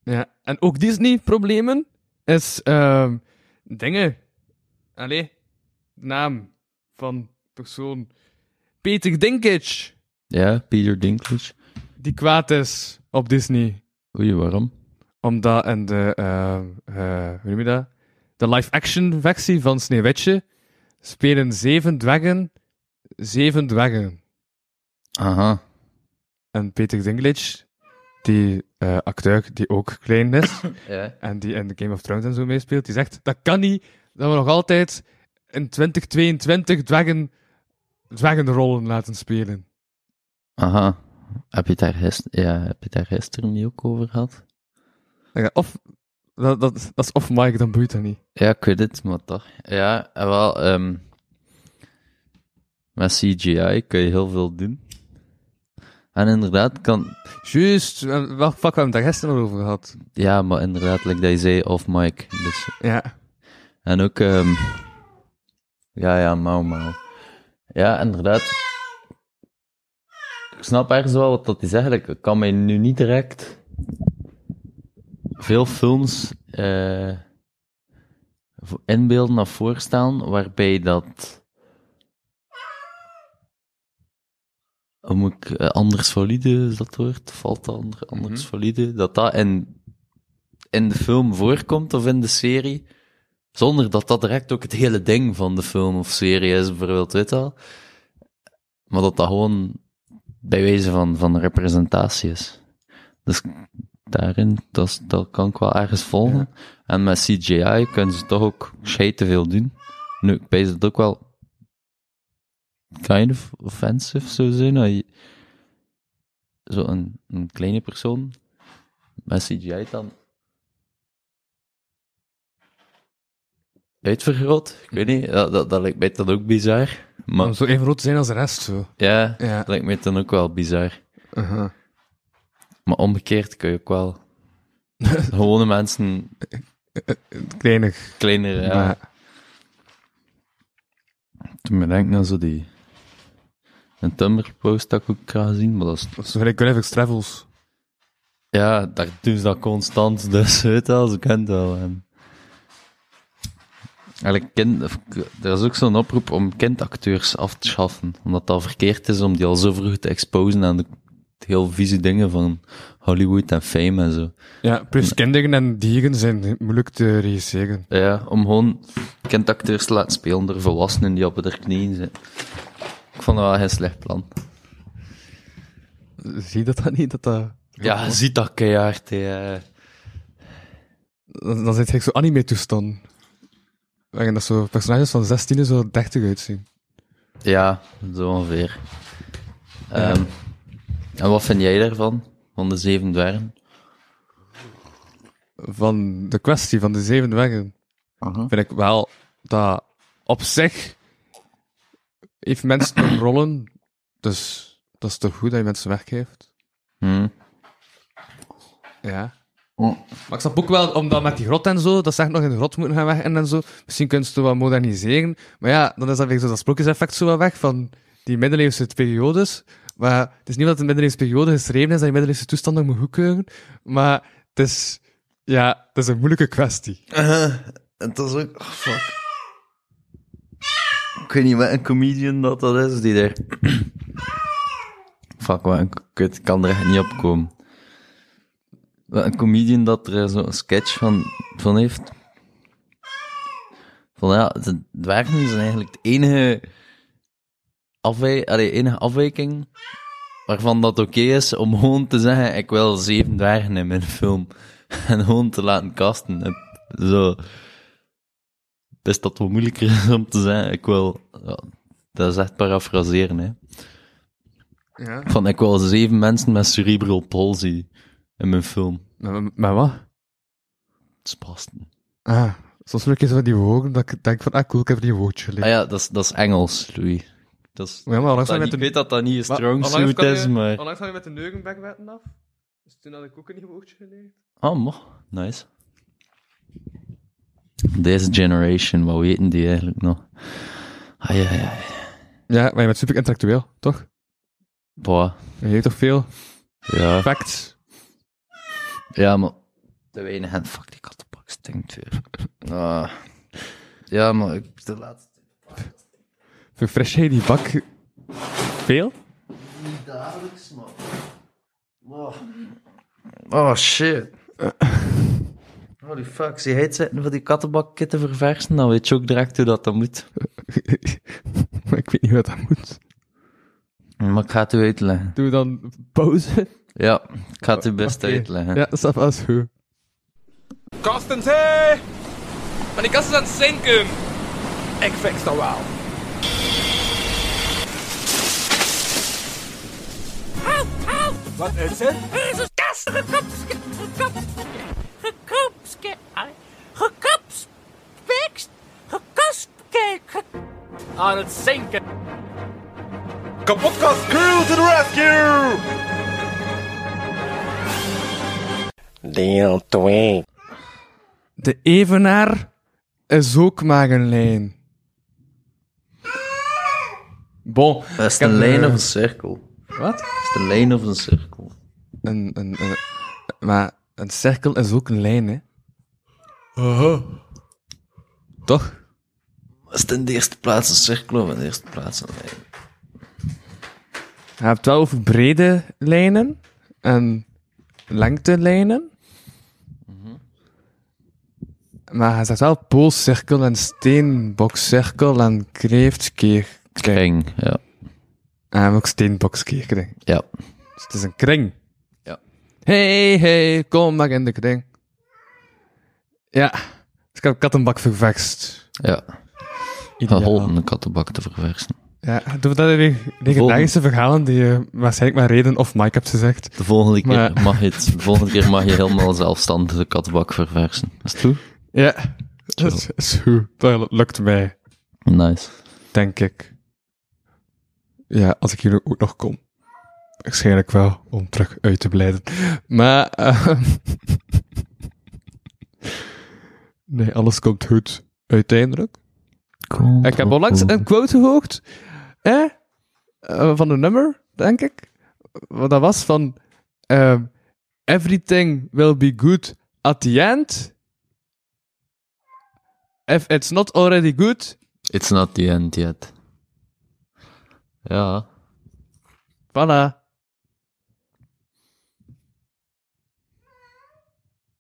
Speaker 3: Ja, en ook Disney-problemen is ehm, dingen. Allee, naam van persoon. Peter Dinklage,
Speaker 2: Ja, Peter Dinklage.
Speaker 3: die kwaad is op Disney.
Speaker 2: Oei, waarom?
Speaker 3: Omdat in de, eh, eh, hoe noem je dat? De live-action versie van Sneeuwwitje spelen zeven dwergen, zeven dwergen.
Speaker 2: Aha.
Speaker 3: En Peter Dinklage, die eh, acteur die ook klein is,
Speaker 2: Ja.
Speaker 3: en die in de Game of Thrones en zo meespeelt, die zegt, dat kan niet, dat we nog altijd in 2022 dwergen, dwergenrollen laten spelen.
Speaker 2: Aha. Heb je het daar, gist- ja, heb je het daar gisteren niet ook over gehad?
Speaker 3: Ik dacht, Of, dat, dat, dat is of Mike, dan boeit dat niet.
Speaker 2: Ja, ik weet het, maar toch. Ja, en wel, ehm, met CGI kun je heel veel doen. En inderdaad kan...
Speaker 3: Juist, eh, welk vak hebben we daar gisteren al over gehad?
Speaker 2: Ja, maar inderdaad, like dat je zei, off mic. Dus
Speaker 3: Ja.
Speaker 2: En ook, ehm ja, ja, Mau Mau. Ja, inderdaad. Ik snap ergens wel wat dat is eigenlijk. Ik kan mij nu niet direct veel films eh, vo- inbeelden of voorstellen waarbij dat. Hoe moet ik, eh, anders valide is dat het woord? Valt dat onder anders valide? Dat dat in, in de film voorkomt of in de serie. Zonder dat dat direct ook het hele ding van de film of serie is, bijvoorbeeld, weet je wel. Maar dat dat gewoon bij wijze van, van representatie is. Dus daarin, dat, is- dat kan ik wel ergens volgen. En met CGI kunnen ze toch ook shit te veel doen. Nu, ik weet het ook wel kind of offensive zou zijn. als je- Zo een, een kleine persoon met CGI dan uitvergroot. Ik weet niet, dat, dat, dat lijkt mij dan ook bizar. Maar
Speaker 3: Om zo even rood te zijn als de rest, zo.
Speaker 2: ja,
Speaker 3: Ja.
Speaker 2: dat lijkt mij dan ook wel bizar. Maar omgekeerd kun je ook (laughs) wel gewone mensen
Speaker 3: Kleinig.
Speaker 2: kleiner. Ja.
Speaker 3: Maar-
Speaker 2: Toen bedenk ik nou zo die. Een Tumblr post dat ik ook ga zien, maar dat is,
Speaker 3: Zo gelijk Gulliver's Travels.
Speaker 2: ja, daar doen ze dat constant, dus (laughs) weet je wel, ze kent wel. En... Eigenlijk, kind, of, k- er is ook zo'n oproep om kindacteurs af te schaffen, omdat dat verkeerd is om die al zo vroeg te exposen aan de heel vieze dingen van Hollywood en fame en zo.
Speaker 3: Ja, plus kinderen en dieren zijn moeilijk te regisseren.
Speaker 2: Ja, om gewoon kindacteurs te laten spelen door volwassenen die op hun knieën zitten. Ik vond dat wel geen slecht plan.
Speaker 3: Zie je dat dan niet? Dat dat...
Speaker 2: Ja, je ziet dat keihard. hè.
Speaker 3: Dan, dan zit je zo anime-toestand. Waarin dat zo personages van 16 en zo 30 uitzien.
Speaker 2: Ja, zo ongeveer. Ehm, En wat vind jij daarvan? Van de zeven dwergen?
Speaker 3: Van de kwestie van de zeven dwergen vind ik wel dat op zich heeft mensen een rollen. Dus dat is toch goed dat je mensen weggeeft.
Speaker 2: Hm.
Speaker 3: Ja. Maar ik snap ook wel, omdat met die grot en zo, dat ze echt nog in de grot moeten gaan weg en en zo. Misschien kunnen ze het wat moderniseren. Maar ja, dan is dat weer zo dat sprookjeseffect zo wel weg van die middeleeuwse periodes. Maar het is niet dat de middeleeuwse periode geschreven is dat je middeleeuwse toestanden moet goedkeuren. Maar het is, ja, het is een moeilijke kwestie.
Speaker 2: (laughs) Het was ook... oh, fuck. Ik weet niet wat een comedian dat dat is, die daar... fuck, wat een kut. Ik kan er echt niet op komen. Wat een comedian dat er zo'n sketch van, van heeft. Van ja, de dwergen zijn eigenlijk de enige, afwij allee, enige afwijking waarvan dat oké is om gewoon te zeggen, ik wil zeven dwergen in mijn film. (laughs) En gewoon te laten casten. En Zo best dat wel moeilijker (laughs) is om te zeggen, ik wil... ja, dat is echt parafraseren, hè.
Speaker 3: Ja.
Speaker 2: Van, ik wil zeven mensen met cerebral palsy in mijn film.
Speaker 3: Maar, maar wat?
Speaker 2: Spasten.
Speaker 3: Ah, soms wil ik eens van die woorden dat ik denk van, ah cool, ik heb die woordje
Speaker 2: Ah
Speaker 3: liggen.
Speaker 2: ja, dat is, dat is Engels, Louis. Dat is,
Speaker 3: Ja, maar onlangs
Speaker 2: dat
Speaker 3: had ik met
Speaker 2: niet- ik
Speaker 3: de-
Speaker 2: weet dat dat niet een
Speaker 3: maar
Speaker 2: strong
Speaker 3: onlangs
Speaker 2: suit
Speaker 3: kan
Speaker 2: is,
Speaker 3: je-
Speaker 2: maar...
Speaker 3: Onlangs had ik met de neugenbekwetten af. Dus toen had ik ook een nieuw woordje geleerd.
Speaker 2: Oh, mo. Nice. Deze generation, wat weten die eigenlijk nog? Ai, ai, ai.
Speaker 3: Ja, maar je bent super intellectueel, toch?
Speaker 2: Boah.
Speaker 3: Je weet toch veel?
Speaker 2: Ja.
Speaker 3: Facts.
Speaker 2: Ja, maar... De weinige en fuck, die kattenbak stinkt weer. Ah. Ja, maar ik... De laatste...
Speaker 3: Verfresh jij die bak veel?
Speaker 2: Niet dagelijks, maar... Oh, shit. Oh, die fuck, zie heet zitten voor die kattenbakje te verversen, dan weet je ook direct hoe dat dan moet.
Speaker 3: (laughs) maar ik weet niet wat dat moet.
Speaker 2: Maar ik ga het u uitleggen.
Speaker 3: Doe dan pauze.
Speaker 2: Ja, ik ga het u best
Speaker 3: Oké.
Speaker 2: uitleggen.
Speaker 3: Ja, dat is goed.
Speaker 4: Kostens, hé!
Speaker 5: Maar die kast is aan het zinken.
Speaker 4: Ik fix dat wel. Wat is het?
Speaker 5: Er is een kast gekopske, gekopske, gekopske, gekopspikst, gekopske, aan het zinken.
Speaker 4: Kapotkast crew to the rescue!
Speaker 6: Deel 2.
Speaker 3: De evenaar is ook maar een lijn. Bon.
Speaker 2: Dat is
Speaker 3: Ik heb,
Speaker 2: een lijn
Speaker 3: eh,
Speaker 2: of een cirkel.
Speaker 3: Wat?
Speaker 2: Dat is een lijn of een cirkel.
Speaker 3: Een, een, een, maar een cirkel is ook een lijn, hè? Toch?
Speaker 2: Is het in de eerste plaats een cirkel of in de eerste plaats een lijn?
Speaker 3: Je hebt wel over brede lijnen en lengtelijnen.
Speaker 2: Mhm.
Speaker 3: Maar hij zegt wel poolcirkel en steenbokcirkel en kreeftkeer.
Speaker 2: Kring, ja.
Speaker 3: En ook steenbokskeer, kring.
Speaker 2: Ja.
Speaker 3: Dus het is een kring.
Speaker 2: Ja.
Speaker 3: Hey, hey, kom maar in de kring. Ja. Dus ik heb kattenbak ververst.
Speaker 2: Ja.
Speaker 3: Ideaal.
Speaker 2: Geholpen een kattenbak te verversen.
Speaker 3: Ja, doen we dat in legendarische verhalen die je waarschijnlijk maar Reden of Mike hebt gezegd.
Speaker 2: De volgende keer
Speaker 3: Maar-
Speaker 2: mag je het, de volgende keer mag je helemaal zelfstandig de kattenbak verversen. Is het goed?
Speaker 3: Ja, dat is- is goed. Dat lukt mij,
Speaker 2: Nice.
Speaker 3: denk ik. Ja, als ik hier ook nog kom. Waarschijnlijk wel, om terug uit te blijden. Maar... ehm, (laughs) nee, alles komt goed. Uiteindelijk. Ik heb onlangs een quote gehoord. Hè? Eh, van een nummer, denk ik. Wat dat was van... ehm, Everything will be good at the end. If it's not already good...
Speaker 2: It's not the end yet. Ja.
Speaker 3: Voilà.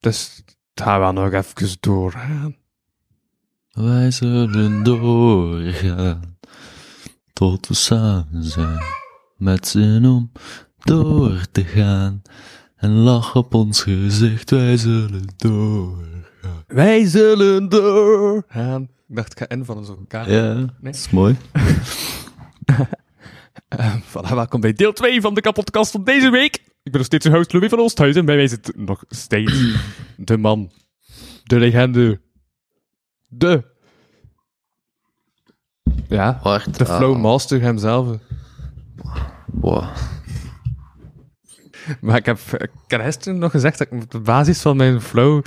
Speaker 3: Dus daar gaan we nog even doorgaan.
Speaker 2: Wij zullen doorgaan tot we samen zijn. Met zin om door te gaan. En lach op ons gezicht, wij zullen doorgaan.
Speaker 3: Wij zullen doorgaan. Ik dacht, ik ga in van onze elkaar.
Speaker 2: Ja, dat is mooi.
Speaker 3: Voilà, welkom bij deel 2 van de kapotkast van deze week. Ik ben nog steeds uw host Louis van Oosthuizen. en Bij mij zit nog steeds de man, de legende, de... Ja,
Speaker 2: Hard.
Speaker 3: de flow master hemzelf.
Speaker 2: Wow.
Speaker 3: Maar ik heb, ik heb gisteren nog gezegd dat ik op de basis van mijn flow.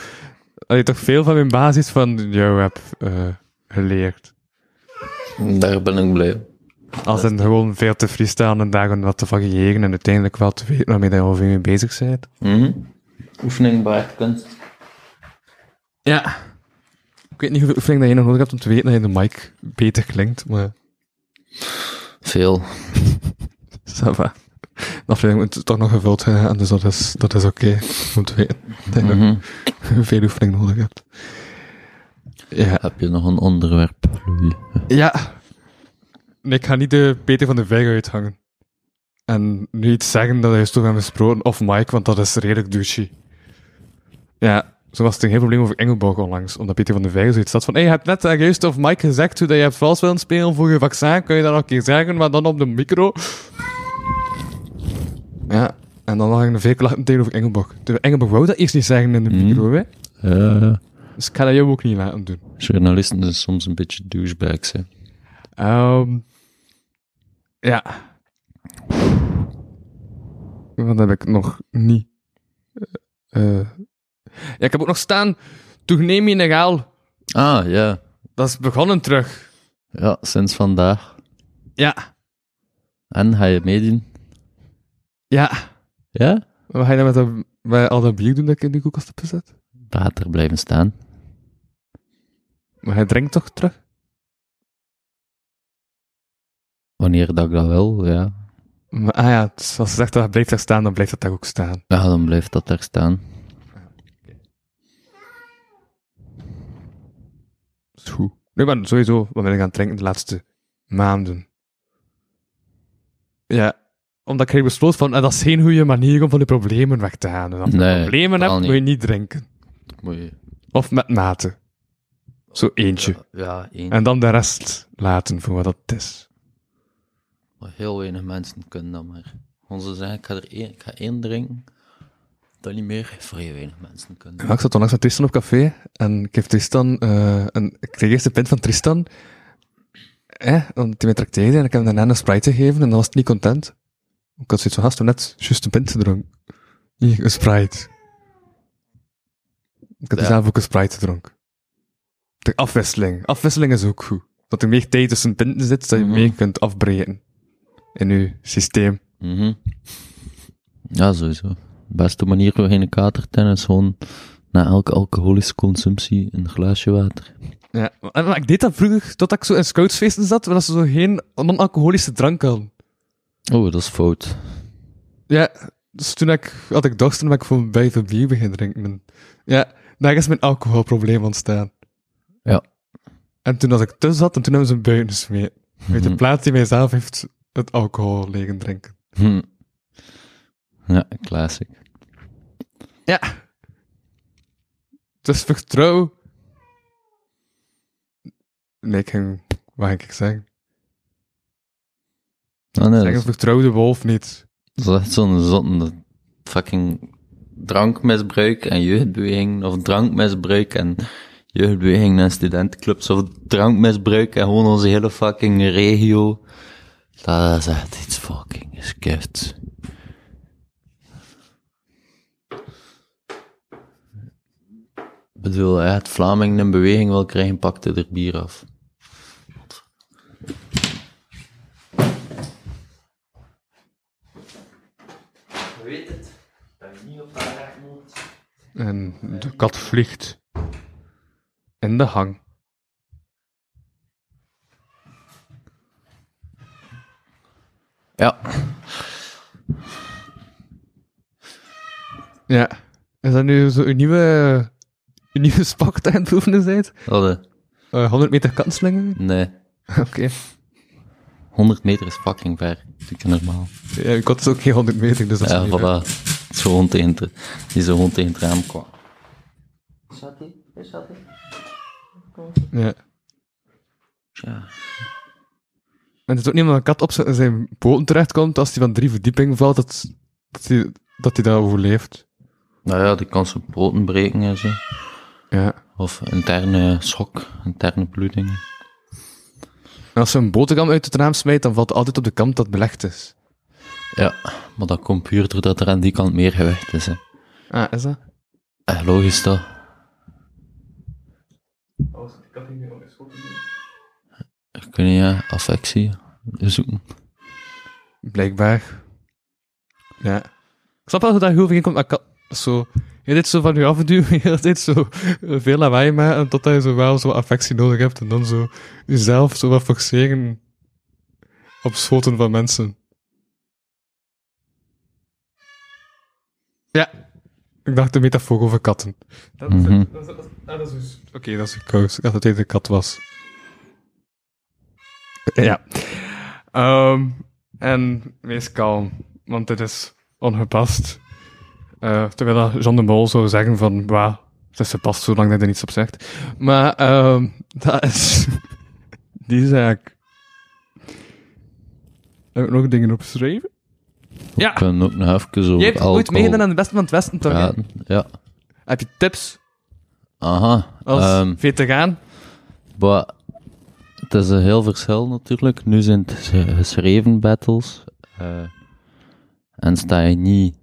Speaker 3: Dat je toch veel van mijn basis van jou heb eh, geleerd.
Speaker 2: Daar ben ik blij om.
Speaker 3: Als in gewoon veel te freestylen en daar gewoon wat te variëren en uiteindelijk wel te weten waarmee je over mee bezig bent.
Speaker 2: Oefening baardkunst.
Speaker 3: Ja. Ik weet niet hoeveel oefening dat je nog nodig hebt om te weten dat je de mic beter klinkt, maar.
Speaker 2: Veel.
Speaker 3: Sava. De aflevering moet toch nog gevuld zijn, dus dat is, dat is oké. Om te weten dat je nog veel oefening nodig hebt. Ja.
Speaker 2: Heb je nog een onderwerp, Louis?
Speaker 3: Ja. Nee, ik ga niet de Peter van de Vijg uithangen. En nu iets zeggen dat hij is toch hebben besproken, of Mike, want dat is redelijk douchey. Ja, zo was het een heel probleem over Engelborg onlangs, omdat Peter van de Vijg zoiets had van, hé, je hebt net daar juist of Mike gezegd hoe dat je hebt vals willen spelen voor je vaccin, kun je dat nog een keer zeggen, maar dan op de micro. Ja, en dan lag ik een veel klachten tegen over Engelborg. De Engelborg wou dat eerst niet zeggen in de micro, hè.
Speaker 2: Ja,
Speaker 3: Dus ik ga dat jou ook niet laten doen.
Speaker 2: journalisten zijn soms een beetje douchebags, hè.
Speaker 3: Ehm ja. Wat heb ik nog niet? Eh, eh, ja, ik heb ook nog staan. Toegeneem je negaal.
Speaker 2: Ah, ja.
Speaker 3: Dat is begonnen terug.
Speaker 2: Ja, sinds vandaag.
Speaker 3: Ja.
Speaker 2: En, ga je meedoen?
Speaker 3: Ja.
Speaker 2: Ja?
Speaker 3: Wat ga je dan met, dat, met al dat bier doen dat ik in de koelkast heb gezet?
Speaker 2: Water blijven staan.
Speaker 3: Maar hij drinkt toch terug?
Speaker 2: Wanneer dat ik dat wil, ja.
Speaker 3: Maar, ah ja, dus als ze zegt dat hij blijft daar staan, dan blijft dat daar ook staan.
Speaker 2: Ja, dan blijft dat daar staan.
Speaker 3: het goed. Nee, maar sowieso wat ben ik aan het drinken de laatste maanden. Ja, omdat ik eigenlijk besloot van, eh, dat is geen goede manier om van de problemen weg te gaan. Dus als je
Speaker 2: Nee,
Speaker 3: problemen
Speaker 2: totaal
Speaker 3: hebt, moet je niet drinken.
Speaker 2: Moet je...
Speaker 3: Of met mate. Zo eentje.
Speaker 2: Ja, één.
Speaker 3: En dan de rest laten voor wat dat is.
Speaker 2: Maar heel weinig mensen kunnen dat maar. Onze zeggen, ik ga er één, ik ga één drinken. Dat niet meer, vrij weinig mensen kunnen.
Speaker 3: Ja, ik zat onlangs met Tristan op café en ik, heb Tristan, eh, een, ik kreeg eerst de pint van Tristan. Eh, omdat hij mij trakteerde en ik heb hem daarna een sprite gegeven en dan was hij niet content. Ik had zoiets van, gast, we hebben net juist een pint gedronken. Hier, een sprite. Ik had
Speaker 2: Ja.
Speaker 3: zelf ook een sprite gedronken. De afwisseling. Afwisseling is ook goed. Dat er meer tijd tussen pinten zit, dat je
Speaker 2: Mhm.
Speaker 3: meer kunt afbreken. In je systeem.
Speaker 2: Mhm. Ja, sowieso. Beste manier voor geen katertennis, gewoon na elke alcoholische consumptie een glaasje water.
Speaker 3: Ja, maar, maar ik deed dat vroeger, totdat ik zo in scoutsfeesten zat, waar ze zo geen non-alcoholische drank hadden.
Speaker 2: Oh, dat is fout.
Speaker 3: Ja, dus toen ik, had ik dorst, toen ben ik voor vijf bier begin drinken. En ja, daar is mijn alcoholprobleem ontstaan.
Speaker 2: Ja.
Speaker 3: En toen als ik tussen zat, en toen hebben ze een buiten gesmeten. Weet je, de plaats die mijzelf heeft het alcohol legen drinken.
Speaker 2: Hm. Ja, classic.
Speaker 3: Ja. Dus vertrouw. Nee, ik ging, wat ging ik zeggen?
Speaker 2: Ah, nee, dat,
Speaker 3: Zeggen,
Speaker 2: is,
Speaker 3: vertrouw de wolf niet.
Speaker 2: dat is echt zo'n zotte fucking drankmisbruik en jeugdbeweging, of drankmisbruik en jeugdbeweging en studentenclubs, of drankmisbruik en gewoon onze hele fucking regio. Dat is echt iets fucking skifts. Ik bedoel, ja, het Vlaming in beweging wil krijgen, pakte er bier af. weet het. Dat je niet op dat recht moet.
Speaker 3: En de kat vliegt. In de hang.
Speaker 2: Ja.
Speaker 3: Ja. Is dat nu zo uw nieuwe, uw nieuwe sport aan het oefenen zijt?
Speaker 2: Dat, eh,
Speaker 3: Eh, 100 meter kanslingen?
Speaker 2: nee.
Speaker 3: (laughs) Oké.
Speaker 2: 100 meter is fucking ver. Dat is normaal.
Speaker 3: Ja, uw kat is ook geen 100 meter, dus dat is
Speaker 2: Ja,
Speaker 3: niet erg.
Speaker 2: voilà. Zo'n hond tegen het- die zo'n hond tegen het raam kwam.
Speaker 3: Ja.
Speaker 2: Tja.
Speaker 3: En het is ook niet omdat een kat op zijn- zijn poten terechtkomt, als hij van drie verdiepingen valt, dat, dat hij dat hij daar overleeft.
Speaker 2: Nou ja, die kan zijn poten breken en zo.
Speaker 3: Ja.
Speaker 2: Of interne schok, interne bloedingen.
Speaker 3: En als ze een boterham uit het raam smijt, dan valt het altijd op de kant dat belegd is.
Speaker 2: Ja, maar dat komt puur doordat er aan die kant meer gewicht is. Hè.
Speaker 3: Ah, is dat?
Speaker 2: Eh, logisch toch? Kun je affectie zoeken?
Speaker 3: Blijkbaar. Ja. Ik snap wel hoe dat heel veel inkomt, maar ik kan- zo... Je dit zo van je afduwen, (laughs) je dit zo eh, veel lawaai maken, totdat je zo wel zo affectie nodig hebt, en dan zo jezelf zo wat forceren op schoten van mensen. Ja. Ik dacht de metafoor over katten. Dat is,
Speaker 2: Mhm.
Speaker 3: dat is, dat is- ah, dat is dus- Oké, dat is een kous. Ik dacht dat het een kat was. Ja. Ehm, en wees kalm, want dit is ongepast. Eh, terwijl dat Jean de Mol zou zeggen van, "Wa, het is gepast zolang dat er niets op zegt. Maar ehm, dat is (laughs) die zaak. Heb ik nog dingen opgeschreven?
Speaker 2: We kunnen ook nog even zo.
Speaker 3: Je hebt ooit meegedaan aan de beste van het Westen, toch?
Speaker 2: ja, ja,
Speaker 3: Heb je tips
Speaker 2: aha.
Speaker 3: als
Speaker 2: Ehm,
Speaker 3: veteraan?
Speaker 2: Maar het is een heel verschil natuurlijk. Nu zijn het ge- geschreven battles. eh, en sta je niet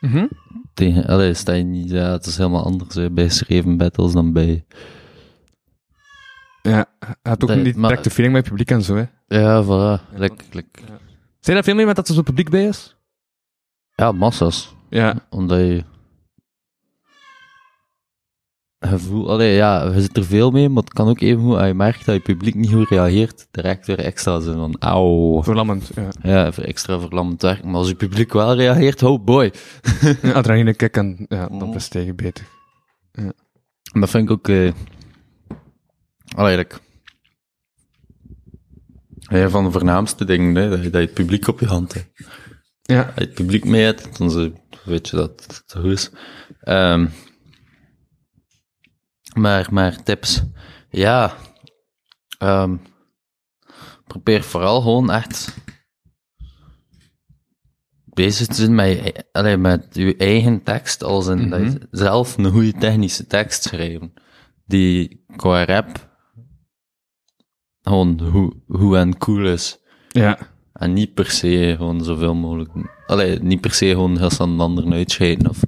Speaker 3: Mhm.
Speaker 2: tegen. Allee, sta je niet. Ja, het is helemaal anders hè, bij geschreven battles dan bij.
Speaker 3: Ja, je hebt ook
Speaker 2: Nee,
Speaker 3: niet
Speaker 2: maar-
Speaker 3: direct de feeling met het publiek en zo, hè.
Speaker 2: Ja, voilà. Like, like-
Speaker 3: Zijn er veel meer met dat er zo'n publiek bij is?
Speaker 2: ja, massa's.
Speaker 3: Ja.
Speaker 2: Omdat je. Gevoel, allee, ja, je zit er veel mee, maar het kan ook even hoe je merkt dat je publiek niet goed reageert, direct weer extra zijn van, auw.
Speaker 3: Verlammend, ja.
Speaker 2: Ja, voor extra verlammend werk, maar als je publiek wel reageert, oh boy.
Speaker 3: Ja, adrenaline kick en ja, dan
Speaker 2: Mhm.
Speaker 3: presteer je beter.
Speaker 2: En Dat vind ik ook eh, Eigenlijk. Een van de voornaamste dingen, hè, dat, je, dat je het publiek op je hand hebt.
Speaker 3: Ja.
Speaker 2: Als je het publiek mee hebt, dan ze- weet je dat het zo is. Ehm, maar, maar tips. Ja. Ehm, probeer vooral gewoon echt bezig te zijn met je, e- allee, met je eigen tekst, als in dat je zelf een goede technische tekst schrijven. Die qua rap gewoon hoe, hoe en cool is.
Speaker 3: Ja.
Speaker 2: En niet per se gewoon zoveel mogelijk. Allee, niet per se gewoon heel snel een ander uitscheiden. Of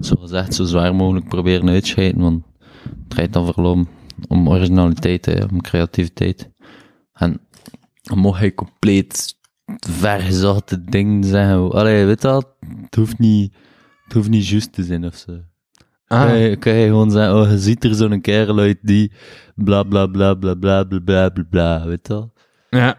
Speaker 2: zo gezegd, zo zwaar mogelijk proberen uitscheiden. Want het draait dan vooral om, om originaliteit, hè, om creativiteit. En dan mocht je compleet vergezochte dingen zeggen. Allee, weet je dat? Het hoeft niet, het hoeft niet juist te zijn of zo.
Speaker 3: Ah,
Speaker 2: Kan, je, kan je gewoon zeggen, oh, je ziet er zo'n kerel uit die bla bla bla bla bla bla bla bla bla, weet je wel?
Speaker 3: Ja.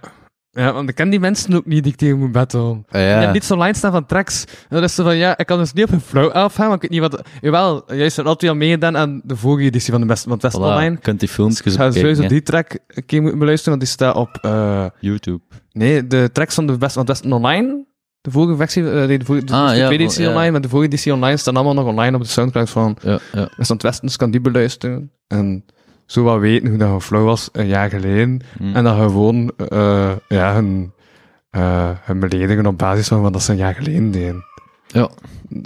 Speaker 3: Ja, want ik ken die mensen ook niet die ik tegen moet battlen.
Speaker 2: Ja.
Speaker 3: Je hebt niet zo'n line staan van tracks. En dan is ze van, ja, ik kan dus niet op een flow afgaan, want ik weet niet wat... Jawel, juist hebt altijd al meegedaan aan de vorige editie van de beste van het Best
Speaker 2: Voilà,
Speaker 3: Online.
Speaker 2: je kunt die filmpjes
Speaker 3: Ik ga
Speaker 2: bekijken,
Speaker 3: sowieso
Speaker 2: hè.
Speaker 3: die track een keer moeten beluisteren, want die staat op... eh,
Speaker 2: YouTube.
Speaker 3: nee, de tracks van de beste van het Best Online. De vorige versie, eh, nee, de, vorige, de,
Speaker 2: Ah,
Speaker 3: de
Speaker 2: ja,
Speaker 3: tweede
Speaker 2: oh,
Speaker 3: editie
Speaker 2: ja.
Speaker 3: online, maar de vorige editie online staan allemaal nog online op de Soundcloud van
Speaker 2: Ja, ja.
Speaker 3: Best van het Westen, dus ik kan die beluisteren. En zo wat weten hoe dat je flow was een jaar geleden.
Speaker 2: Mm.
Speaker 3: En dat gewoon eh, ja, hun, eh, hun beledigen op basis van wat dat ze een jaar geleden deden.
Speaker 2: ja,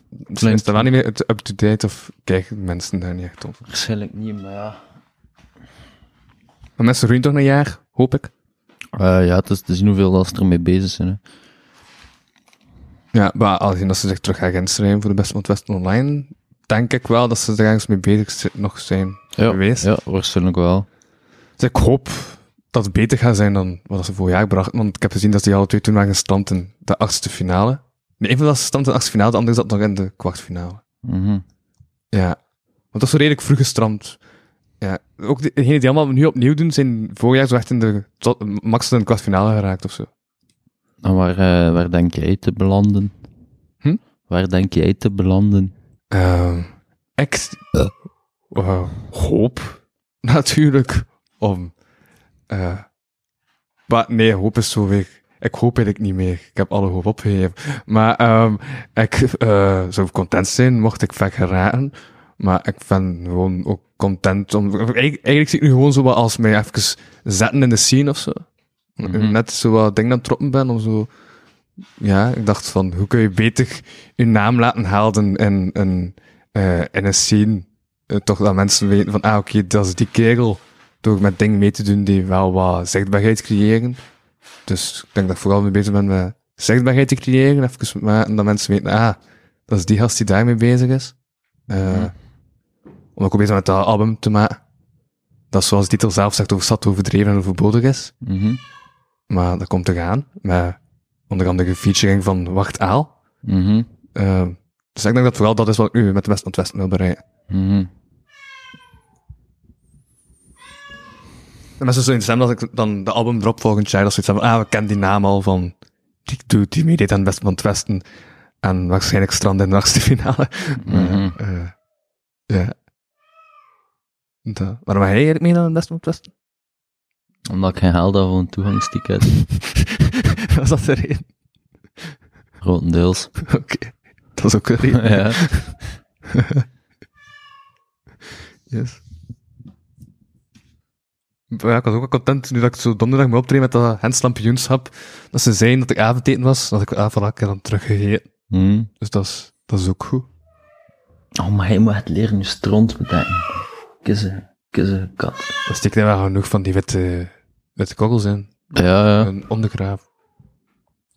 Speaker 3: Dus is dat wel niet meer het up-to-date of kijken mensen daar niet echt op.
Speaker 2: waarschijnlijk niet, maar ja.
Speaker 3: Maar mensen groeien toch een jaar, hoop ik.
Speaker 2: Eh, ja, het is te zien hoeveel dat ze ermee bezig zijn. Hè.
Speaker 3: Ja, maar aangezien dat ze zich terug gaan inschrijven voor de Best van het Westen online, denk ik wel dat ze er ergens mee bezig zi- nog zijn
Speaker 2: Ja,
Speaker 3: geweest.
Speaker 2: ja, waarschijnlijk wel.
Speaker 3: Dus ik hoop dat het beter gaat zijn dan wat ze vorig jaar brachten, want ik heb gezien dat die alle twee toen waren gestand in de achtste finale. Nee, een van dat ze stand in de achtste finale, de andere zat nog in de kwartfinale.
Speaker 2: Mhm.
Speaker 3: Ja. Want dat is zo redelijk vroeg gestramd. Ja. Ook de- degenen die allemaal nu opnieuw doen, zijn vorig jaar zo echt in de tot- max in de kwartfinale geraakt of zo.
Speaker 2: En waar, eh, waar denk jij te belanden?
Speaker 3: Hm?
Speaker 2: Waar denk jij te belanden?
Speaker 3: Ehm ik s- eh, hoop (laughs) natuurlijk om. eh, maar nee, hoop is zo weg. Ik hoop eigenlijk niet meer. Ik heb alle hoop opgegeven. Maar ehm, ik eh, zou content zijn mocht ik ver geraken. Maar ik ben gewoon ook content om. Eigenlijk, eigenlijk zie ik nu gewoon zo wat als mij even zetten in de scene of zo.
Speaker 2: Mhm.
Speaker 3: Net zo wat ding aan het troppen ben om zo. Ja, ik dacht van hoe kun je beter je naam laten halen in, in, eh, in een scene. Eh, toch dat mensen weten van, ah oké, dat is die kerel. Door met dingen mee te doen die wel wat zichtbaarheid creëren. Dus ik denk dat ik vooral mee bezig ben met zichtbaarheid te creëren. Even maken dat mensen weten, ah, dat is die gast die daarmee bezig is. Eh, Omdat ik ook bezig ben met dat album te maken. Dat zoals de titel zelf zegt over zat overdreven en overbodig is.
Speaker 2: Mhm.
Speaker 3: Maar dat komt eraan. Met onder andere featuring van Wacht Aal.
Speaker 2: Mhm.
Speaker 3: Eh, dus ik denk dat vooral dat is wat ik nu met de West aan het Westen wil bereiken.
Speaker 2: Mhm.
Speaker 3: En mensen zo in stem dat ik dan de album drop volgend jaar, dat ze zoiets hebben van, ah, we kennen die naam al van die dude die meedeed aan het Westen van het Westen. En waarschijnlijk strand in de achtste finale.
Speaker 2: Mhm.
Speaker 3: Maar, eh, ja. Dat- Waarom ga jij eigenlijk mee naar het Westen van het Westen? (laughs)
Speaker 2: Omdat ik geen geld had voor een (laughs) toegangsticket.
Speaker 3: Was dat de reden?
Speaker 2: Grotendeels.
Speaker 3: Oké. Dat is ook een reden.
Speaker 2: (laughs) ja.
Speaker 3: Yes. Maar Ja, ik was ook wel content nu dat ik zo donderdag me optreed met dat Hens Lampioenschap. Dat ze zeiden dat ik avondeten was, dat ik ah, voilà, ik heb dan teruggegeten.
Speaker 2: Mhm.
Speaker 3: Dus dat is, dat is ook goed.
Speaker 2: Oh, maar hij moet het leren je stront bedenken. Kissen, kissen, kat.
Speaker 3: Dat stikt er wel genoeg van die witte, witte kogels in.
Speaker 2: Ja, ja.
Speaker 3: Een ondergraaf.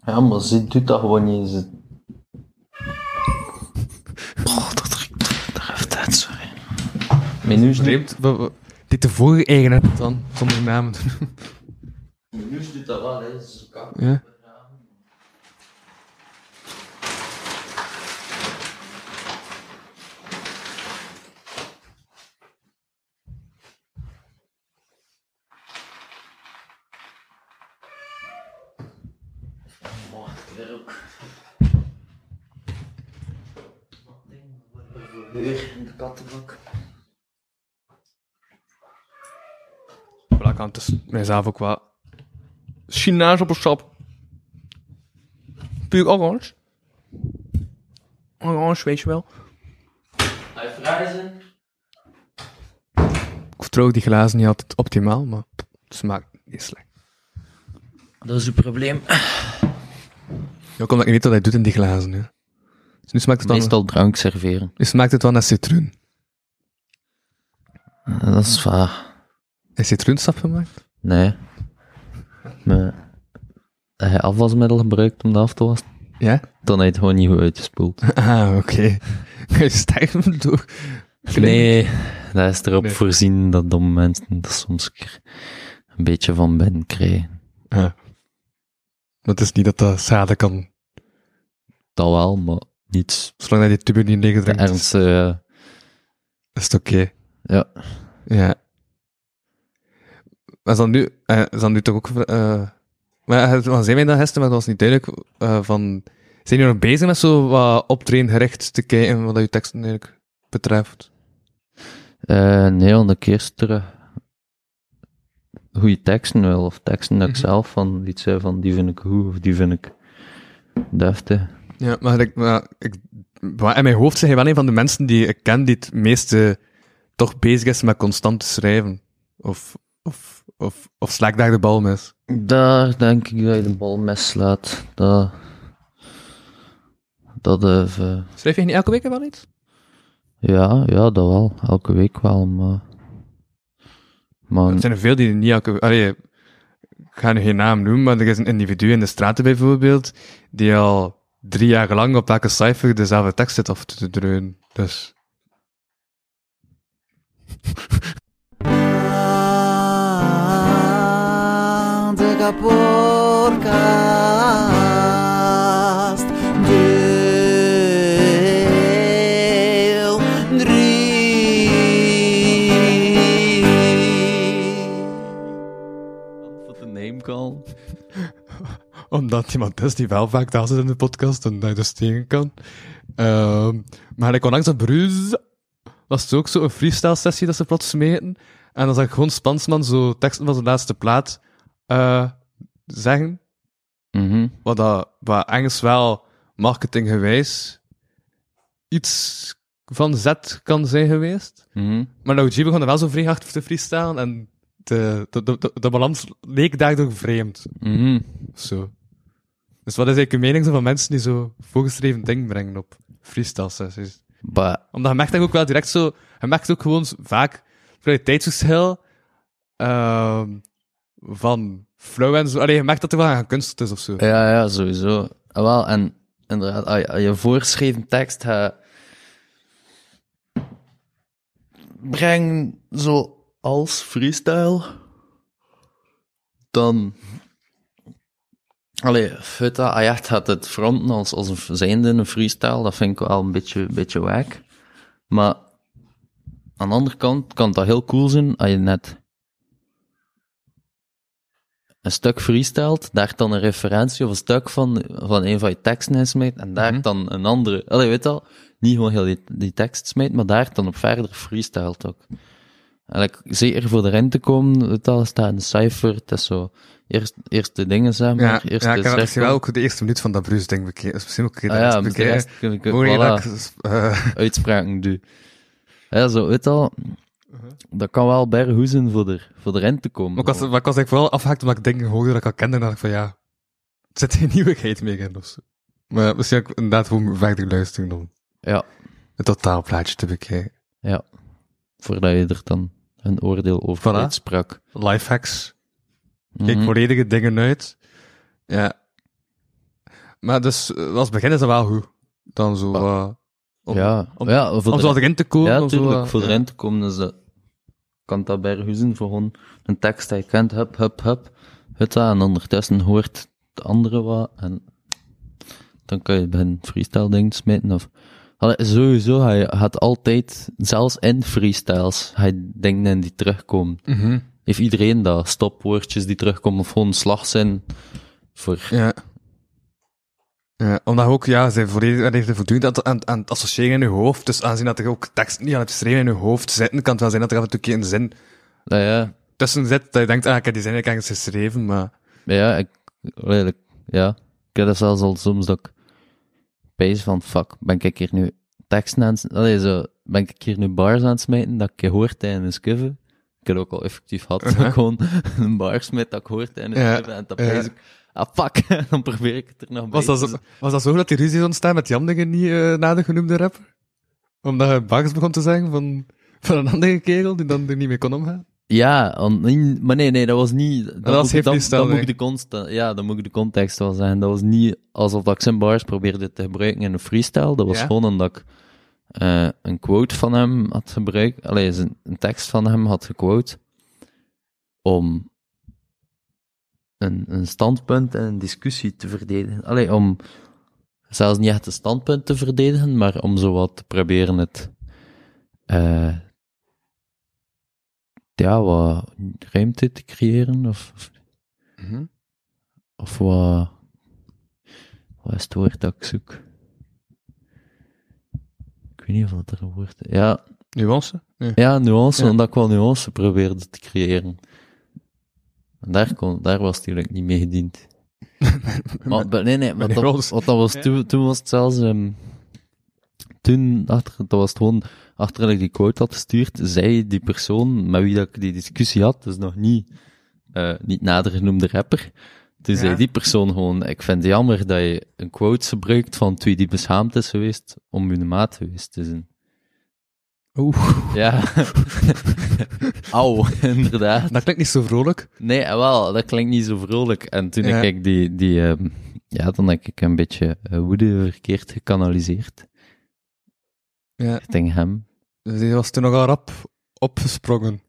Speaker 2: Ja, maar ze doet dat gewoon niet. Ze... Oh, dat ruikt er even tijd, sorry. Mijn neus doet,
Speaker 3: Vreemd. wa- wa- Die de vorige eigen hebt dan, zonder namen.
Speaker 2: mijn neus doet dat wel, hè. Dat is kak.
Speaker 3: ja.
Speaker 2: Weer in de kattenbak.
Speaker 3: ik kan dus mijzelf ook wel Chinees op een sap. Puur orange. Orange, weet je wel. Ik vertrouw die glazen niet altijd optimaal, maar het smaakt niet slecht.
Speaker 2: Dat is uw probleem.
Speaker 3: Ja, omdat ik weet wat hij doet in die glazen. Hè. Dus nu smaakt het, wel,
Speaker 2: Meestal drank serveren.
Speaker 3: nu smaakt het wel naar citroen.
Speaker 2: Dat is waar.
Speaker 3: Is citroensap gemaakt?
Speaker 2: Nee. Maar heb je afwasmiddel gebruikt om dat af te wassen?
Speaker 3: Ja?
Speaker 2: Dan heb je het gewoon niet goed (laughs) uitgespoeld.
Speaker 3: Ah, oké. (laughs) Ga je sterven door...
Speaker 2: Nee, dat is erop
Speaker 3: Nee.
Speaker 2: voorzien dat domme mensen dat soms een keer een beetje van ben krijgen.
Speaker 3: Ah. Maar het is niet dat dat zaden kan,
Speaker 2: Dat wel, maar niet
Speaker 3: zolang dat je tube niet
Speaker 2: te
Speaker 3: leegdrinkt. is-
Speaker 2: ernstig. eh,
Speaker 3: Is het oké.
Speaker 2: ja.
Speaker 3: Ja. Maar is dan nu, eh, is dan nu toch ook. eh maar het- wat zijn wij dan gisteren, maar dat was niet duidelijk. eh, van, zijn jullie nog bezig met zo wat optreden gericht te kijken wat dat je teksten eigenlijk betreft?
Speaker 2: Eh, nee, want ik eerst terug goede teksten wil, of teksten dat ik zelf van iets zei van die vind ik goed, of die vind ik deftig.
Speaker 3: Ja, maar ik, maar ik, maar in mijn hoofd zijn jij wel een van de mensen die ik ken die het meeste toch bezig is met constant te schrijven. Of, of, of, of sla ik daar de bal mis.
Speaker 2: Daar denk ik dat je de bal mislaat. Dat, dat eh, v-
Speaker 3: Schrijf je niet elke week wel iets?
Speaker 2: ja, ja, dat wel. Elke week wel, maar... maar
Speaker 3: Er zijn er veel die niet elke... Allee, ik ga nu geen naam noemen, maar er is een individu in de straten bijvoorbeeld, die al drie jaar lang op elke cijfer dezelfde tekst zit af te dreunen. Dus...
Speaker 2: voor de name call.
Speaker 3: Omdat iemand is die wel vaak daar zit in de podcast en daar dus tegen kan. Ehm, maar ik onlangs op Bruce was het ook zo'n freestyle sessie dat ze plots smeten. En dan zag ik gewoon Spansman zo teksten van zijn laatste plaat eh, zeggen.
Speaker 2: Mhm.
Speaker 3: wat, dat, wat Engels wel marketinggewijs iets van zet kan zijn geweest.
Speaker 2: mhm.
Speaker 3: Maar nou, G begon er wel zo vrij hard te freestylen en de, de, de, de, de balans leek daardoor vreemd.
Speaker 2: Mhm.
Speaker 3: of Zo. Dus wat is eigenlijk uw mening zo van mensen die zo voorgeschreven dingen brengen op freestyle sessies?
Speaker 2: Maar
Speaker 3: Omdat je merkt dat ook wel direct zo... Je merkt ook gewoon vaak kwaliteitsverschil ehm, van flow en zo. Allee, je merkt dat er wel aan kunst is of zo.
Speaker 2: Ja, ja, sowieso. Ah, wel, en inderdaad, als je, als je voorschreven tekst gaat... Breng zo als freestyle, dan... Allee, fut dat, als je echt gaat het fronten als, als een, zijnde een freestyle, dat vind ik wel een beetje, beetje wack. Maar aan de andere kant kan dat heel cool zijn als je net een stuk freestylt, daar dan een referentie of een stuk van, van een van je teksten in smijt, en daar
Speaker 3: Mhm.
Speaker 2: dan een andere, allee, weet al, niet gewoon heel die, die tekst smijt, maar daar dan op verder freestylt ook. En ik, zeker voor erin te komen, weet al, staat een cijfer, het is zo, eerst, eerst de dingen, zeg maar,
Speaker 3: Ja,
Speaker 2: eerst
Speaker 3: ja,
Speaker 2: de
Speaker 3: ik heb
Speaker 2: cirkel.
Speaker 3: misschien wel ook de eerste minuut van dat Bruce ding bekeken. Dat is misschien ook een keer
Speaker 2: Ah
Speaker 3: de
Speaker 2: ja,
Speaker 3: rest
Speaker 2: met de rest kun ik ook-
Speaker 3: Hoor je dat?
Speaker 2: voilà.
Speaker 3: ik- eh, (laughs)
Speaker 2: uitspraken doe. Ja, zo, weet al, dat kan wel bij hoezen voor er, voor erin te komen.
Speaker 3: maar, ik was, maar ik was eigenlijk vooral afgehaakt omdat ik dingen hoorde dat ik al kende. En dacht ik van ja, het zit geen (laughs) nieuwigheid meer in of zo. Maar ja, misschien ook inderdaad gewoon verder luisteren om
Speaker 2: Ja,
Speaker 3: het totaalplaatje te bekijken.
Speaker 2: ja. Voordat je er dan een oordeel over
Speaker 3: Voilà.
Speaker 2: uitsprak.
Speaker 3: Lifehacks. Kijk
Speaker 2: Mhm.
Speaker 3: volledige dingen uit. Ja. Maar dus, eh, als begin is dat wel goed. Dan zo... eh, om,
Speaker 2: ja,
Speaker 3: Om,
Speaker 2: ja, voor
Speaker 3: om
Speaker 2: de-
Speaker 3: zo erin te komen.
Speaker 2: Ja,
Speaker 3: om zo,
Speaker 2: natuurlijk.
Speaker 3: eh,
Speaker 2: voor
Speaker 3: ja.
Speaker 2: erin te komen is dat. Kan dat bij Huizen voor gewoon een tekst die je kent, hup, hup, hup. Het aan, en ondertussen hoort de andere wat. En dan kan je beginnen freestyle dingen te smijten. Of, Allee, sowieso, hij had altijd, zelfs in freestyles, hij dingen in die terugkomen.
Speaker 3: Mhm.
Speaker 2: Heeft iedereen dat? Stopwoordjes die terugkomen of gewoon slagzin. Voor,
Speaker 3: Ja. ja. Omdat je ook, ja, zijn volledig, er heeft er voldoende aan, aan, aan het associëren in je hoofd. Dus aanzien dat er ook tekst niet aan het schrijven in je hoofd zitten, kan het wel zijn dat er af en toe een keer een zin
Speaker 2: nou ja,
Speaker 3: tussen zit, dat je denkt, ah, ik heb die zin eigenlijk ergens geschreven, maar...
Speaker 2: Ja, ik, redelijk. Ja. Ik heb dat zelfs al soms dat ik bezig van, fuck, ben ik hier nu teksten aan het, allee, zo, ben ik hier nu bars aan het smijten dat ik hoor tijdens cover. Ik heb ook al effectief gehad, dat ik gewoon een bar smijt dat ik hoor tijdens
Speaker 3: Uh-huh. Ja,
Speaker 2: cover en dat
Speaker 3: ja.
Speaker 2: bezig. Ah, fuck, (laughs) dan probeer ik het er nog bij
Speaker 3: Was dat,
Speaker 2: te
Speaker 3: zo,
Speaker 2: zetten.
Speaker 3: was dat zo dat die ruzies ontstaan met die andere niet eh na de genoemde rapper? Omdat je Bax begon te zeggen van, van een andere kerel die dan er niet mee kon omgaan?
Speaker 2: Ja, want- maar nee, nee, dat was niet... Dat,
Speaker 3: was
Speaker 2: moet, ik-
Speaker 3: heeft
Speaker 2: dan,
Speaker 3: die stijl,
Speaker 2: dan moet
Speaker 3: hè?
Speaker 2: ik de context, ja, dan moet ik de context wel zeggen. Dat was niet alsof dat ik zijn bars probeerde te gebruiken in een freestyle. Dat was
Speaker 3: Ja.
Speaker 2: gewoon omdat ik eh, een quote van hem had gebruikt. Allee, zijn- een tekst van hem had gequote. Om een, een standpunt en een discussie te verdedigen. Allee, om zelfs niet echt een standpunt te verdedigen, maar om zowat te proberen het... eh, ja, wat ruimte te creëren of, of, of wat, wat is het woord dat ik zoek? Ik weet niet of dat er een woord is. Ja,
Speaker 3: Nuance? Ja.
Speaker 2: ja nuance,
Speaker 3: Ja.
Speaker 2: omdat ik wel nuance probeerde te creëren. En daar, kon, daar was het eigenlijk niet mee (laughs) gediend. maar, maar- nee, nee, maar
Speaker 3: meneer
Speaker 2: dat,
Speaker 3: Roos.
Speaker 2: want dat was, toen, toen was het zelfs... ehm, toen, achter, dat was het gewoon, achter dat ik die quote had gestuurd, zei die persoon met wie dat ik die discussie had, dus nog niet, eh, niet nader genoemde rapper, toen zei die persoon gewoon, ik vind het jammer dat je een quote gebruikt van twee die beschaamd is geweest om hun maat geweest te zijn.
Speaker 3: Oeh, (laughs)
Speaker 2: Ja. Auw, (laughs) inderdaad.
Speaker 3: dat klinkt niet zo vrolijk.
Speaker 2: Nee, eh, wel, dat klinkt niet zo vrolijk. En toen
Speaker 3: Ja.
Speaker 2: heb ik die, die ehm, ja, dan heb ik een beetje eh, woede verkeerd gekanaliseerd.
Speaker 3: Ja.
Speaker 2: Richting hem.
Speaker 3: Dus die was toen nogal rap opgesprongen.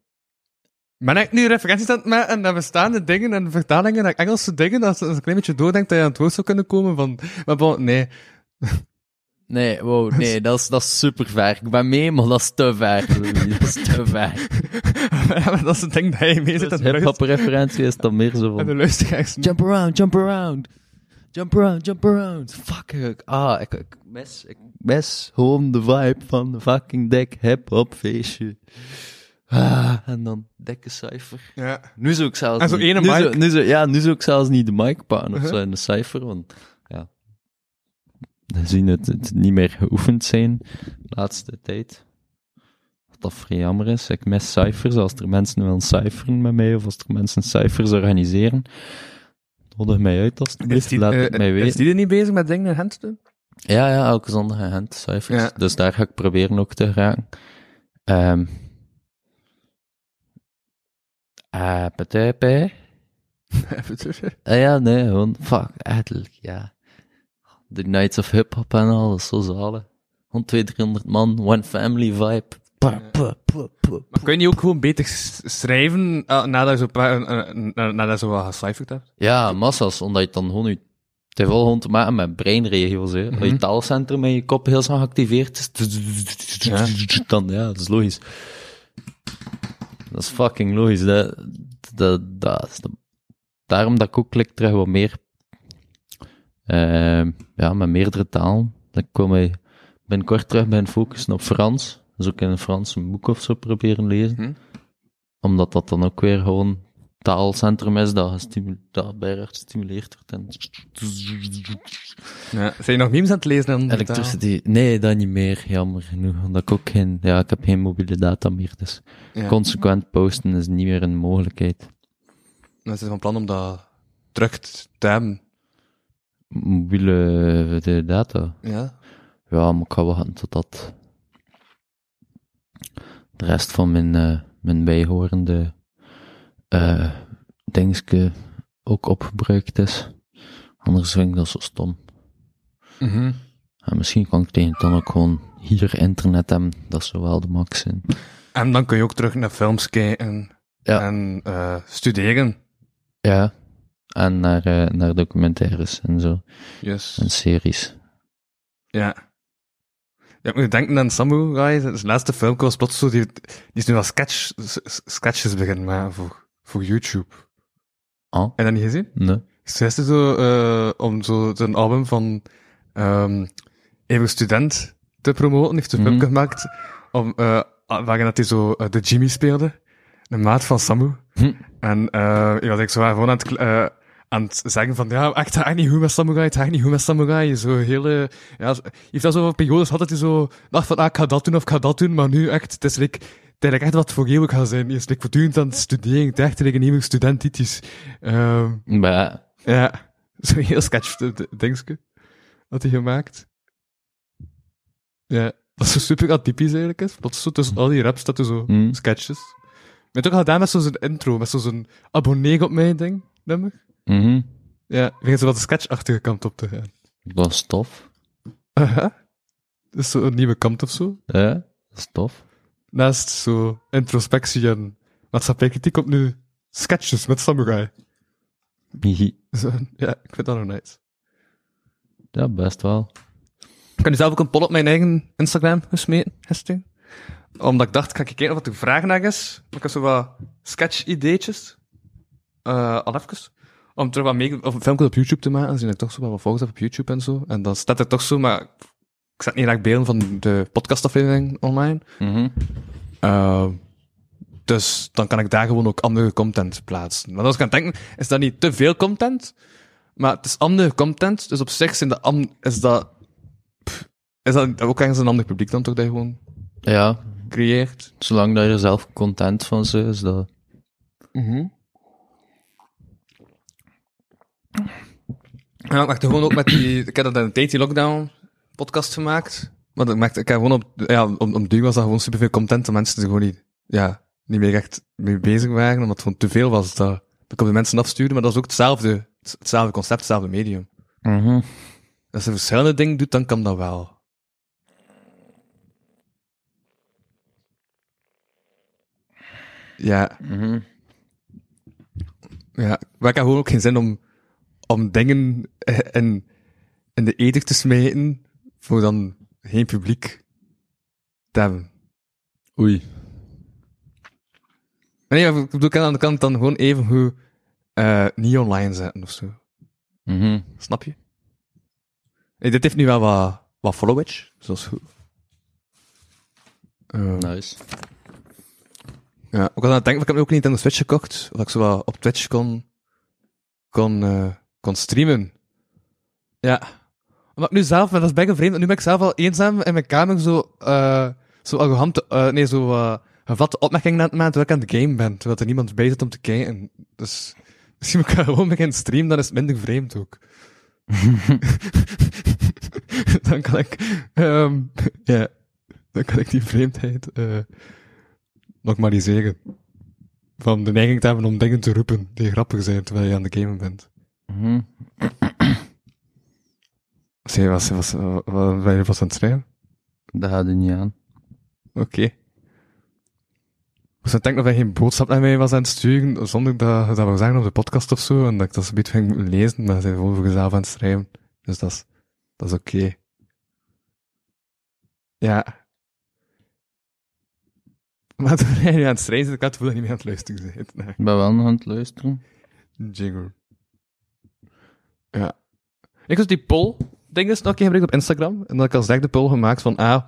Speaker 3: Ben ik nu referenties aan het maken naar bestaande dingen en vertalingen naar Engelse dingen? Als je als je een klein beetje doordenkt dat je aan het woord zou kunnen komen van... Maar bon, nee. (laughs)
Speaker 2: Nee, wow, nee, dat is, dat is super ver. Ik ben mee, maar dat is te ver. Louis. Dat is
Speaker 3: (laughs)
Speaker 2: te ver.
Speaker 3: dat is het ding dat je mee zit
Speaker 2: Als
Speaker 3: en de
Speaker 2: hip-hop
Speaker 3: luister-
Speaker 2: referentie is dan meer
Speaker 3: en
Speaker 2: zo
Speaker 3: de
Speaker 2: van...
Speaker 3: luisteraars.
Speaker 2: Jump around, jump around. Jump around, jump around. Fuck, ik, ah, ik, ik mis, ik mis gewoon de vibe van de fucking dik hip-hop feestje. Ah, en dan dikke cijfer.
Speaker 3: Ja.
Speaker 2: Nu zou ik zelfs
Speaker 3: En zo
Speaker 2: niet-
Speaker 3: ene
Speaker 2: nu
Speaker 3: mic.
Speaker 2: zou- nu zou- ja, nu zou ik zelfs niet de mic pakken of
Speaker 3: Uh-huh.
Speaker 2: zo in de cijfer, want ja. We zien het, het niet meer geoefend zijn de laatste tijd. Wat dat vrij jammer is. Ik mis cijfers. Als er mensen willen cijferen met mij of als er mensen cijfers organiseren, nodig mij uit
Speaker 3: Is
Speaker 2: alsjeblieft.
Speaker 3: die,
Speaker 2: Laat
Speaker 3: eh,
Speaker 2: het mij
Speaker 3: is
Speaker 2: weten.
Speaker 3: die er niet bezig met dingen in hand te doen? (laughs)
Speaker 2: Ja, ja, elke zondag een hand cijfers.
Speaker 3: Ja.
Speaker 2: Dus daar ga ik proberen ook te geraken. Ehm eh, patijpij. Ah ja, nee, gewoon, fuck, eigenlijk, ja. The Nights of Hip Hop en al, dat is zo zalen. Gewoon 200, 300 man, one family vibe. Pa, pa, pa, pa.
Speaker 3: maar kun je ook gewoon beter s- schrijven eh, nadat je zo, pra- eh, eh, na- nadat je zo wat gecijferd hebt?
Speaker 2: Ja, massa's, omdat je dan gewoon je... Het heeft wel gewoon te maken met breinregio's, hè. Dat je taalcentrum in je kop heel snel geactiveerd is. Dan, ja, dat is logisch. Dat is fucking logisch. Dat, dat, dat is de- daarom dat ik ook klik terug wat meer... ehm, ja, met meerdere talen. Dan kom ik binnenkort terug bij een focussen op Frans. Dus ook in het Frans een boek of zo proberen lezen.
Speaker 3: Mhm.
Speaker 2: Omdat dat dan ook weer gewoon taalcentrum is dat, gestimu- dat bijna gestimuleerd wordt. En
Speaker 3: Ja. Zijn je nog memes aan het lezen? Dan
Speaker 2: Electricity, nee, dat niet meer, jammer genoeg. Omdat ik ook geen, ja, ik heb geen mobiele data meer, dus
Speaker 3: Ja.
Speaker 2: consequent posten is niet meer een mogelijkheid.
Speaker 3: Dan is het van plan om dat terug te hebben.
Speaker 2: Mobiele eh, de data?
Speaker 3: Ja.
Speaker 2: Ja, maar ik ga wachten totdat de rest van mijn, eh, mijn bijhorende eh dingetje ook opgebruikt is. Anders vind ik dat zo stom. En Ah, misschien kan ik tegen dan ook gewoon hier internet hebben. Dat zou wel de max zijn.
Speaker 3: En dan kun je ook terug naar films kijken
Speaker 2: Ja.
Speaker 3: en eh, studeren.
Speaker 2: Ja. En naar, eh, naar documentaires en zo.
Speaker 3: Yes.
Speaker 2: En series.
Speaker 3: Ja. Ja, ik moet denken aan Samurai. Zijn laatste film was plots zo, die, die is nu al sketch, s- s- sketches beginnen maken voor, voor YouTube.
Speaker 2: Ah,
Speaker 3: Heb je dat niet gezien?
Speaker 2: nee.
Speaker 3: Ze is er zo eh, om zo zijn album van ehm Eeuwig Student te promoten. Heeft een
Speaker 2: Mhm.
Speaker 3: ah, film gemaakt om, eh, waarin dat hij zo eh, de Jimmy speelde. een maat van Samu. En eh ik was ik zo haar gewoon aan het, kle- eh, aan het zeggen van, ja, echt, het gaat niet goed met Samurai, het gaat niet goed met Samurai. Zo hele, ja, ze- je heeft dat zo van periodes gehad dat hij zo dacht van, ah, ik ga dat doen of ik ga dat doen, maar nu echt, het is like, het is like echt wat voor eeuwig gaat zijn. Je is like voortdurend aan het studeren, het is echt like een eeuwig studentitis. Ehm
Speaker 2: Maar,
Speaker 3: ja, (laughs) zo'n heel sketch d- d- dingetje had hij gemaakt. Ja, dat is zo super atypisch eigenlijk is. Dat is zo tussen al die raps dat er zo
Speaker 2: Hmm.
Speaker 3: sketches. Maar toch gedaan met zo'n intro, met zo'n abonneer op mij ding, nummer.
Speaker 2: mhm,
Speaker 3: Ja, begint zo wat de sketchachtige kant op te gaan.
Speaker 2: dat is tof.
Speaker 3: Aha. Dat is zo'n Dus nieuwe kant of zo.
Speaker 2: Ja, dat is tof.
Speaker 3: Naast zo introspectie en maatschappijkritiek op nu sketches met samurai.
Speaker 2: Hihi.
Speaker 3: Zo, ja, ik vind dat nog nice.
Speaker 2: Ja, best wel.
Speaker 3: Ik heb nu zelf ook een poll op mijn eigen Instagram gesmeten gisteren. Omdat ik dacht, ga ik kijken of er vraag naar is. Maar ik heb zo wat sketch-ideetjes. Eh, al even. Om terug wat mee, of filmpjes op YouTube te maken. Aangezien ik toch zo wel wat volgers heb op YouTube en zo. En dan staat er toch zo, maar ik zet niet naar beelden van de podcastaflevering online.
Speaker 2: Mhm.
Speaker 3: Eh, dus dan kan ik daar gewoon ook andere content plaatsen. Want als ik aan het denken, is dat niet te veel content? Maar het is andere content, dus op zich zijn de am- is dat... pff, is dat ook ergens een ander publiek dan toch, dat je gewoon
Speaker 2: Ja,
Speaker 3: creëert?
Speaker 2: zolang dat je er zelf content van ze is dat...
Speaker 3: Ja, ik maakte gewoon ook met die... Ik heb dat in de tijd, die lockdown podcast gemaakt. Want ik maakte... Ik heb gewoon op... Ja, om, om duur was dat gewoon superveel content. De mensen die gewoon niet... Ja, niet meer echt mee bezig waren. Omdat het gewoon te veel was. Dat, dat ik op de mensen afstuurde. Maar dat is ook hetzelfde. het- Hetzelfde concept, hetzelfde medium.
Speaker 2: Mhm.
Speaker 3: Als je verschillende dingen doet, dan kan dat wel. Ja. Ja, maar ik heb gewoon ook geen zin om, om dingen eh, in, in de ether te smijten voor dan geen publiek te hebben. Oei. Nee, maar ik bedoel, ik kan aan de kant dan gewoon even hoe niet online zetten of zo.
Speaker 2: Mhm.
Speaker 3: Snap je? Nee, dit heeft nu wel wat, wat followage. Zoals goed. Eh,
Speaker 2: Nice.
Speaker 3: ja, ook al aan het denken, ik heb nu ook niet aan de Switch gekocht. Of ik zo wel op Twitch kon, kon, eh, kon streamen. Ja. Omdat ik nu zelf, maar dat is bijna vreemd, want nu ben ik zelf al eenzaam in mijn kamer zo, eh zo arrogant, eh, nee, zo eh gevatte opmerkingen aan het maken terwijl ik aan het game ben. Terwijl er niemand bij zit om te kijken. Dus (laughs) misschien moet ik gewoon beginnen streamen, dan is het minder vreemd (laughs) ook. dan kan ik, ehm, ja, dan kan ik die vreemdheid, eh, normaliseren. Van de neiging te hebben om dingen te roepen die grappig zijn terwijl je aan de gamen bent.
Speaker 2: Mhm.
Speaker 3: Zeg, was, was, was, was, ben je vast aan het schrijven?
Speaker 2: Dat gaat er niet aan.
Speaker 3: Oké. Dus ik denk dat hij geen boodschap naar mij was aan het sturen, zonder dat je dat wou zeggen op de podcast of zo, en dat ik dat een beetje ging moeten lezen, maar hij zijn gewoon voor jezelf aan het schrijven. Dus dat is, dat is oké. Ja. Maar toen hij nu aan het schrijven zit, ik had het gevoel dat hij niet meer aan het luisteren bent. Nee.
Speaker 2: Ik ben wel nog aan het luisteren.
Speaker 3: Jingle. Ja. Ik was die poll ding is nog een keer gebruikt op Instagram. En dat ik als derde poll gemaakt van, ah,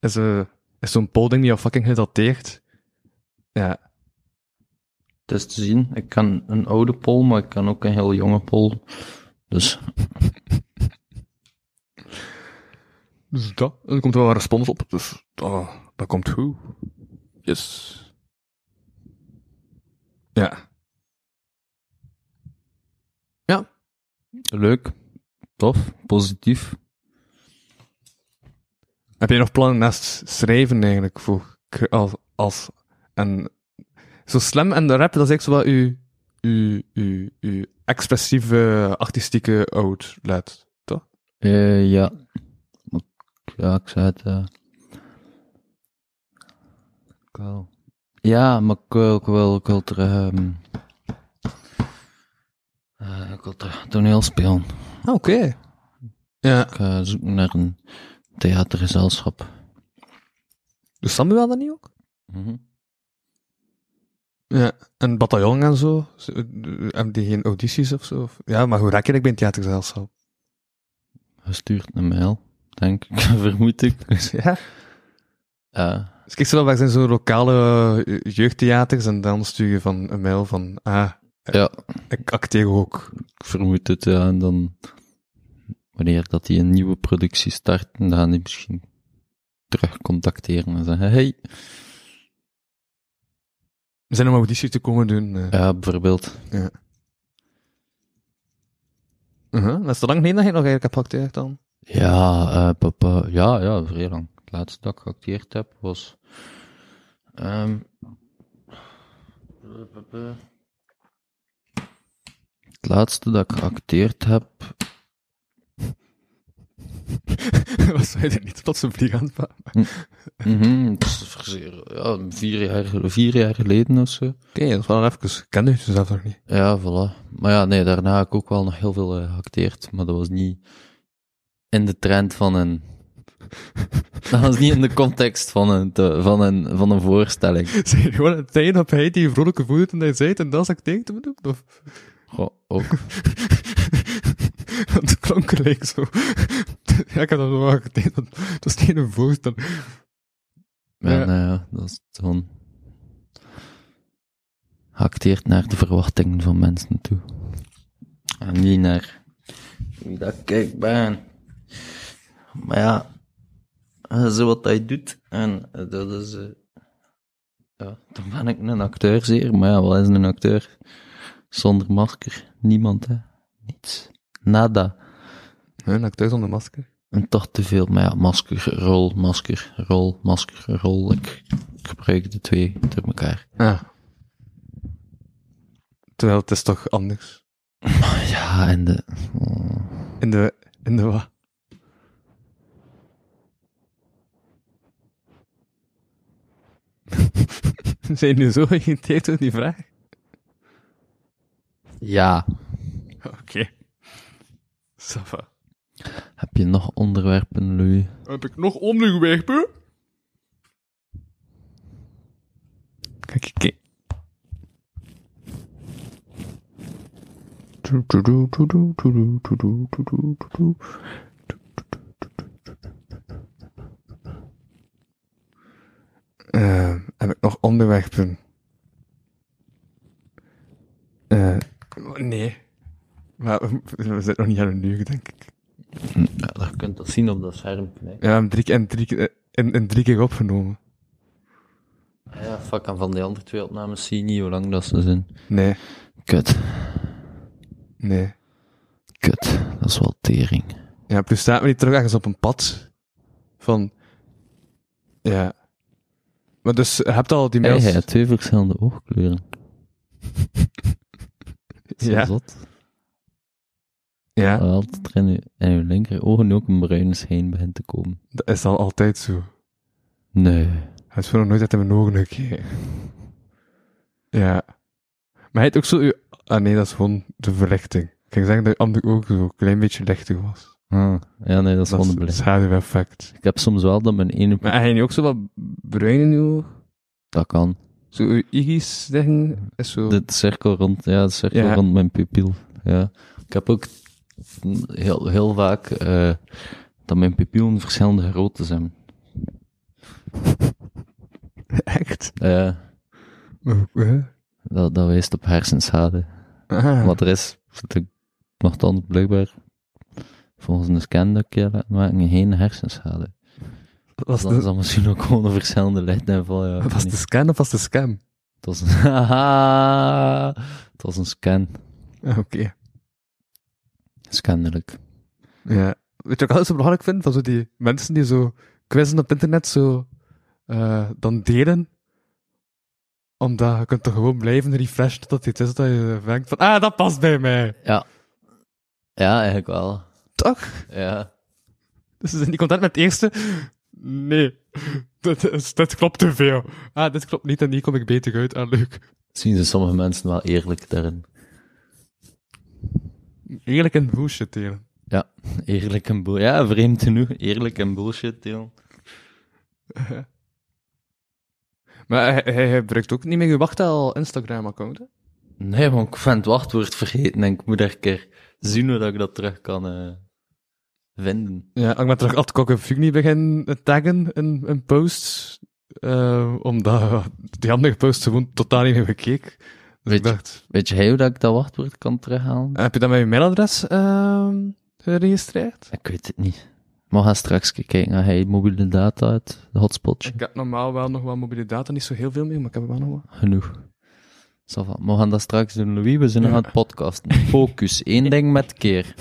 Speaker 3: is, eh, is zo'n poll ding die jou fucking gedateerd? Ja.
Speaker 2: Het is te zien. Ik kan een oude pol, maar ik kan ook een heel jonge pol. Dus
Speaker 3: Dus dat. Er komt wel een respons op, dus dat, dat komt goed. Yes. Ja. Ja.
Speaker 2: leuk, tof, positief.
Speaker 3: Heb je nog plannen naast schrijven eigenlijk voor cre- als, als en zo slam en de rap, dat is echt zo wat uw, uw, uw, uw expressieve artistieke outlet.
Speaker 2: Eh, ja. Ja, ik zei het. eh. Ik wil- Ja, maar ik wil, ik wil, ik wil terug. ehm, eh, ik wil terug toneel spelen.
Speaker 3: Ah, oké. Ja.
Speaker 2: Ik eh, zoek naar een theatergezelschap.
Speaker 3: Doet Samuel dat niet ook?
Speaker 2: Mhm.
Speaker 3: Ja. En bataljon en zo? Z- eh, Hebben die geen audities of zo? Of- Ja, maar hoe raak je dat bij een theatergezelschap?
Speaker 2: (laughs) Gestuurd een mail, denk ik, vermoed ik.
Speaker 3: Ja.
Speaker 2: Dus, Ja.
Speaker 3: (laughs) Dus kijk, zo, waar zijn zo'n lokale eh, jeugdtheaters en dan stuur je van een mail van, ah,
Speaker 2: ja,
Speaker 3: ik acteer ook.
Speaker 2: ik vermoed het, ja. En dan, wanneer dat die een nieuwe productie start, dan gaan die misschien terug contacteren en zeggen, hey,
Speaker 3: We zijn om auditie te komen doen. eh.
Speaker 2: ja, bijvoorbeeld.
Speaker 3: Uh-huh. Dat is te lang geleden dat je nog eigenlijk hebt geacteerd (laughs) dan.
Speaker 2: Ja, eh, papa, ja, ja, vrij lang. Het laatste dat ik geacteerd heb was, ehm, het laatste dat ik geacteerd heb
Speaker 3: Was zij er niet tot zijn vlieg aan het pa-
Speaker 2: Mhm, het is verzeer- ja, vier, jaar, vier jaar geleden of zo.
Speaker 3: Oké, dat is wel even. Ik ken u zelf nog (laughs) niet.
Speaker 2: Ja, voilà. Maar ja, nee, daarna heb ik ook wel nog heel veel eh, geacteerd, maar dat was niet in de trend van een... (laughs) Dat was niet in de context van een, te- van een, van een voorstelling.
Speaker 3: Zijn jullie gewoon aan het tijd op hij die vrolijke voelt en hij zei en dat is acteert te bedoelen? Of... (laughs)
Speaker 2: Goh, ook.
Speaker 3: Want het klonk gelijk zo. (laughs) ja, ik heb dat wel acteerd. Dat dat is niet een voorstelling.
Speaker 2: Ja,
Speaker 3: Ja.
Speaker 2: nou ja, dat is gewoon... Geacteerd naar de verwachtingen van mensen toe. En niet naar wie dat ik ik ben. Maar ja, dat is wat hij doet. En dat is... eh, ja, dan ben ik een acteur zeer. Maar ja, wat is een acteur? Zonder masker. Niemand, hè. Niets. Nada.
Speaker 3: Nee, een acteur zonder masker.
Speaker 2: En toch te veel. Maar ja, masker, rol, masker, rol, masker, rol. Ik, ik gebruik de twee door elkaar.
Speaker 3: Ja. Terwijl het is toch anders.
Speaker 2: Ja, en de... mm.
Speaker 3: In de, in de wat? (laughs) Zijn jullie zo geïrriteerd door die vraag?
Speaker 2: Ja.
Speaker 3: Oké. Safa.
Speaker 2: Heb je nog onderwerpen, Louis?
Speaker 3: Heb ik nog onderwerpen? Kijk, kijk. Eh, heb ik nog onderwerpen? Eh, nee. Maar we, we zijn nog niet aan een uur, denk ik.
Speaker 2: Ja, dat kunt dat zien op dat schermpje. hè.
Speaker 3: Ja, we hebben drie, keer- en drie, keer- eh, en, en drie keer opgenomen.
Speaker 2: Ah Ja, fuck, en van die andere twee opnames zie je niet hoe lang dat ze zijn.
Speaker 3: Nee,
Speaker 2: Kut,
Speaker 3: nee.
Speaker 2: kut. Dat is wel tering.
Speaker 3: Ja, plus staat we niet terug ergens op een pad. Van... Ja. Maar dus, je hebt al die
Speaker 2: Hey,
Speaker 3: mails...
Speaker 2: hij had twee verschillende oogkleuren. Is dat
Speaker 3: Ja.
Speaker 2: zot?
Speaker 3: ja,
Speaker 2: Altijd er in je, in je linker ogen ook een bruine schijn begint te komen.
Speaker 3: dat is al altijd zo.
Speaker 2: Nee.
Speaker 3: Hij is nog nooit uit mijn ogen gekeken. Ja. Maar hij heeft ook zo... uw- Ah nee, dat is gewoon de verlichting. Ik ging zeggen dat je ander ook zo een klein beetje lichtig was.
Speaker 2: Ah, ja, nee, dat is
Speaker 3: Dat is
Speaker 2: wonderlijk.
Speaker 3: het schaduweffect.
Speaker 2: Ik heb soms wel dat mijn ene...
Speaker 3: Maar hij nu ook zo wat bruin in uw oog?
Speaker 2: Dat kan.
Speaker 3: Zo uw iris zeggen is zo...
Speaker 2: De cirkel rond, ja, de cirkel
Speaker 3: Ja.
Speaker 2: rond mijn pupil. Ja. Ik heb ook heel, heel vaak eh, dat mijn pupillen verschillende groottes hebben.
Speaker 3: Echt?
Speaker 2: Eh,
Speaker 3: Huh?
Speaker 2: dat, dat wijst op hersenschade.
Speaker 3: Ah.
Speaker 2: Wat er is, zit ik nogthans blijkbaar volgens een scan dat ik je laat maken, geen hersenschade.
Speaker 3: Was
Speaker 2: Dan is
Speaker 3: de,
Speaker 2: dat misschien ook gewoon een verschillende licht en van ja. ik weet
Speaker 3: was
Speaker 2: niet.
Speaker 3: de scan of was de scam?
Speaker 2: Het was een, (laughs) haha, het was een scan.
Speaker 3: Ah, Oké.
Speaker 2: Scandelijk.
Speaker 3: Ja. Weet je wat ik altijd zo belangrijk vind? Van zo die mensen die zo quizzen op internet zo eh, dan delen. Omdat je kunt toch gewoon blijven refreshen totdat het is dat je denkt van, ah, dat past bij mij.
Speaker 2: Ja, eigenlijk wel.
Speaker 3: Toch?
Speaker 2: Ja.
Speaker 3: Dus ze zijn niet content met het eerste. Nee. Dat, is, dat klopt te veel. Ah, dit klopt niet en hier kom ik beter uit. Ah, leuk.
Speaker 2: Zien ze sommige mensen wel eerlijk daarin.
Speaker 3: Eerlijk en bullshit delen.
Speaker 2: Ja, eerlijk en bullshit. Ja, vreemd genoeg. Eerlijk en bullshit deel.
Speaker 3: Maar hij, hij, hij gebruikt ook niet meer je wachttaal Instagram-account, hè?
Speaker 2: Nee, want ik vind het wachtwoord vergeten en ik moet er een keer zien hoe dat ik dat terug kan... eh, vinden.
Speaker 3: Ja, ik ben terug altijd ook een Fugni beginnen taggen in, in posts. eh, omdat eh, die andere posts gewoon totaal niet meer bekeken. Dus
Speaker 2: Weet
Speaker 3: ik
Speaker 2: je-
Speaker 3: dacht,
Speaker 2: Weet je hoe dat ik dat wachtwoord kan terughalen?
Speaker 3: heb je dan met je mailadres ehm, geregistreerd?
Speaker 2: Ik weet het niet. Maar ga straks kijken naar hey, mobiele data uit, de hotspotje.
Speaker 3: Ik heb normaal wel nog wel mobiele data, niet zo heel veel meer, maar ik heb er wel nog wat.
Speaker 2: Genoeg. Ça va. We gaan dat straks doen, Louis. We zijn nog aan het podcasten. Focus. Eén ding met keer.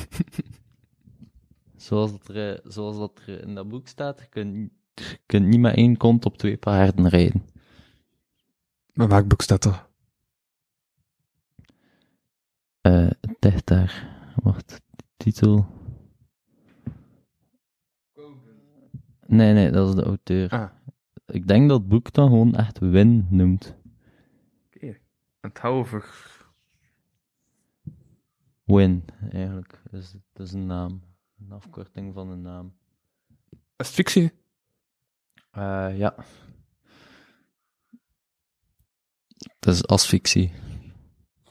Speaker 2: Zoals dat er, eh, zoals dat er in dat boek staat, je kunt, niet- je kunt niet met één kont op twee paarden rijden.
Speaker 3: Mijn maakboek staat er.
Speaker 2: Eh, het ligt daar. Wacht, titel. Nee, nee, dat is de auteur.
Speaker 3: Ah.
Speaker 2: Ik denk dat het boek dan gewoon echt Win noemt.
Speaker 3: Het houvig.
Speaker 2: Win, eigenlijk. Dat is, dat is een naam. Een afkorting van een naam.
Speaker 3: Is het fictie?
Speaker 2: Eh, ja. Dat is asfixie.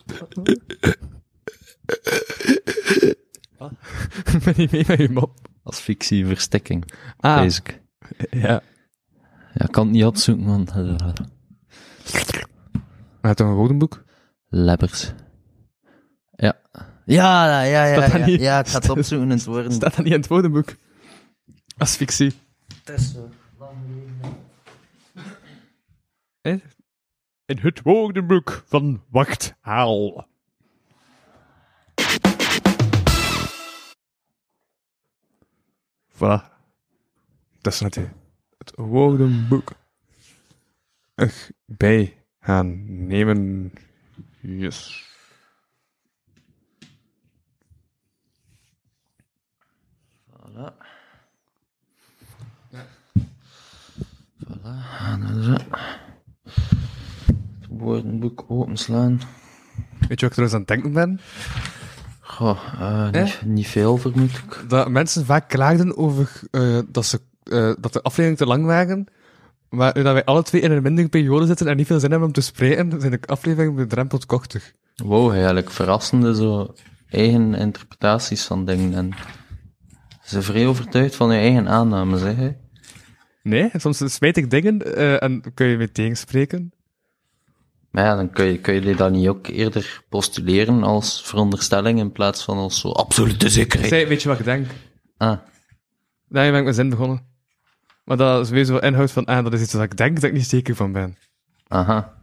Speaker 3: (laughs) Ik ben niet mee met je mop.
Speaker 2: Asfixie, verstikking,
Speaker 3: Ah,
Speaker 2: lees ik.
Speaker 3: ja.
Speaker 2: Ja, ik kan het niet opzoeken, want... eh,
Speaker 3: Maar het een woordenboek?
Speaker 2: Lebbers. Ja. Ja, ja, ja,
Speaker 3: Staat dat
Speaker 2: ja, ja,
Speaker 3: niet?
Speaker 2: ja, ik ga het opzoeken in het woorden.
Speaker 3: Staat dat niet in het woordenboek? Als fictie. In het woordenboek van Wacht Haal. Voilà. Dat is net hè. het woordenboek. Ech, bij gaan nemen. Yes.
Speaker 2: Voilà. Voilà, en dan zo. Het woordenboek openslaan.
Speaker 3: Weet je wat ik trouwens aan het denken ben?
Speaker 2: Goh, eh, niet, niet veel vermoedelijk.
Speaker 3: Dat mensen vaak klaagden over eh, dat, ze, eh, dat de afleveringen te lang waren. Maar nu dat wij alle twee in een mindere periode zitten en niet veel zin hebben om te spreken, zijn de afleveringen bedrempeld korter.
Speaker 2: Wow, eigenlijk verrassende zo eigen interpretaties van dingen. En ze vrij overtuigd van je eigen aannames, hè? hè?
Speaker 3: Nee, soms smijt ik dingen eh, en kun je mee tegenspreken.
Speaker 2: Maar ja, dan kun je, kun je die dan niet ook eerder postuleren als veronderstelling in plaats van als zo absolute zekerheid.
Speaker 3: Zij, weet je wat ik denk?
Speaker 2: Ah,
Speaker 3: Daarmee ben ik mijn zin begonnen. Maar dat is weer zo inhoud van, ah, dat is iets wat ik denk dat ik niet zeker van ben.
Speaker 2: aha.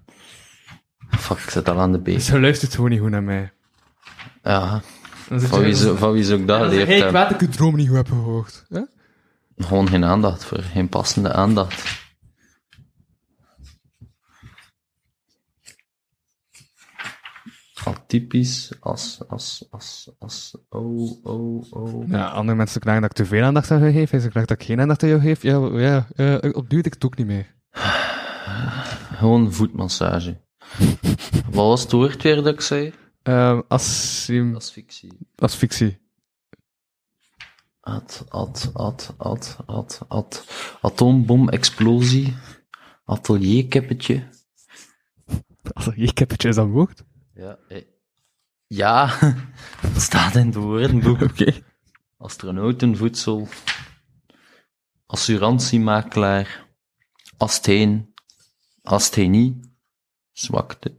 Speaker 2: Fuck, ik zit al aan de
Speaker 3: Dus
Speaker 2: beest.
Speaker 3: hij luistert gewoon niet goed naar mij.
Speaker 2: Ja,
Speaker 3: Dan zit
Speaker 2: van
Speaker 3: je-
Speaker 2: wie, zo, van wie ze ook
Speaker 3: dan
Speaker 2: dat
Speaker 3: zeg
Speaker 2: geleerd
Speaker 3: je, hey, ik
Speaker 2: hebben.
Speaker 3: weet dat ik de droom niet goed heb gehoord. Hè?
Speaker 2: Gewoon geen aandacht voor, geen passende aandacht. Al typisch als, als, als, als, oh, oh, oh.
Speaker 3: Ja, andere mensen klagen dat ik te veel aandacht aan jou geef. En ze klagen dat ik geen aandacht aan jou geef. Ja, ja eh, op duur ik het ook niet meer.
Speaker 2: Gewoon voetmassage. Wat was het woord weer dat ik zei?
Speaker 3: Ehm als,
Speaker 2: Asfixie.
Speaker 3: als fictie.
Speaker 2: At, at, at, at, at, at. Atoombom-explosie. Atelierkippetje.
Speaker 3: Als ik heb het juist aan woord.
Speaker 2: Ja, eh, ja, (laughs) dat staat in het woordenboek.
Speaker 3: Oké.
Speaker 2: Astronautenvoedsel. Assurantiemakelaar. Astheen. Asthenie. Zwakte.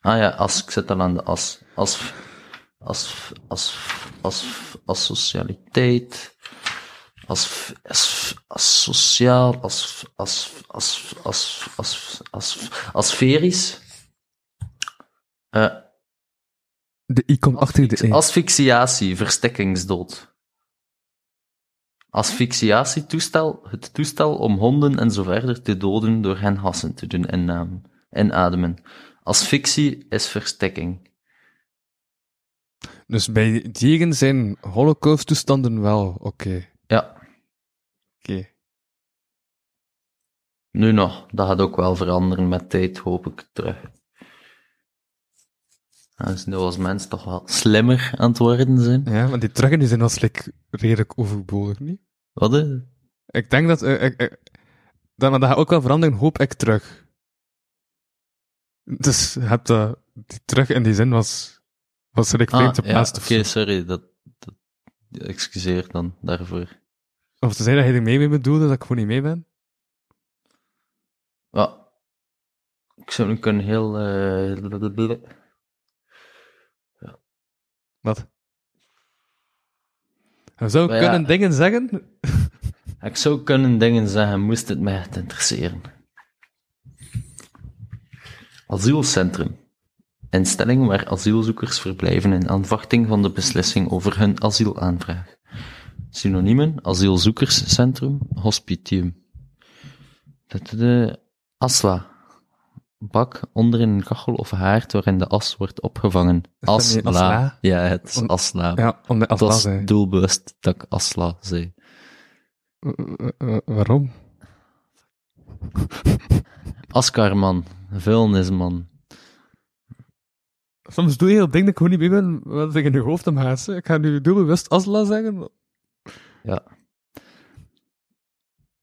Speaker 2: Ah ja, as, ik zit al aan de as. As, as, as, as, asocialiteit. As, as, asociaal. As, as, as, as, as, as, asferisch. Eh,
Speaker 3: De i komt achter de e.
Speaker 2: Asfixiatie, verstikkingsdood. Asfixiatietoestel, het toestel om honden en zo verder te doden door hen hassen te doen inademen. inademen. Asfixie is verstikking.
Speaker 3: Dus bij dieren zijn holocaust-toestanden wel oké.
Speaker 2: Ja,
Speaker 3: Oké.
Speaker 2: nu nog. Dat gaat ook wel veranderen met tijd, hoop ik, terug. Ja, Dus nu als mens toch wel slimmer aan het worden zijn.
Speaker 3: Ja, want die teruggen die zijn als like, redelijk overbodig, niet?
Speaker 2: Wat is
Speaker 3: Ik denk dat... eh, ik- ik- dat maar dat gaat ook wel veranderen, hoop ik terug. Dus je hebt dat... Die terug in die zin was... Was redelijk vreemd
Speaker 2: Ah,
Speaker 3: geplaatst.
Speaker 2: ja,
Speaker 3: of
Speaker 2: oké, sorry. Dat, dat, excuseer dan daarvoor.
Speaker 3: Of te zeggen dat je er mee mee bedoelde, dat ik gewoon niet mee ben.
Speaker 2: Ja. Ik zou nu kunnen heel... eh,
Speaker 3: Wat? Je zou
Speaker 2: Maar ja.
Speaker 3: kunnen dingen zeggen?
Speaker 2: Ik zou kunnen dingen zeggen, moest het mij echt interesseren. Asielcentrum. Instelling waar asielzoekers verblijven in aanvachting van de beslissing over hun asielaanvraag. Synoniemen, asielzoekerscentrum, hospitium. De asla. Bak onder in een kachel of haard waarin de as wordt opgevangen.
Speaker 3: dat niet asla?
Speaker 2: Asla. Ja, het is
Speaker 3: Om-
Speaker 2: asla.
Speaker 3: Ja, om de
Speaker 2: het was
Speaker 3: afwas.
Speaker 2: doelbewust dat ik asla zei.
Speaker 3: eh, Waarom?
Speaker 2: Askarman, vuilnisman.
Speaker 3: Soms doe je heel ding dat ik gewoon niet mee ben, wat ik in je hoofd om haast. Ik ga nu doelbewust Asla zeggen.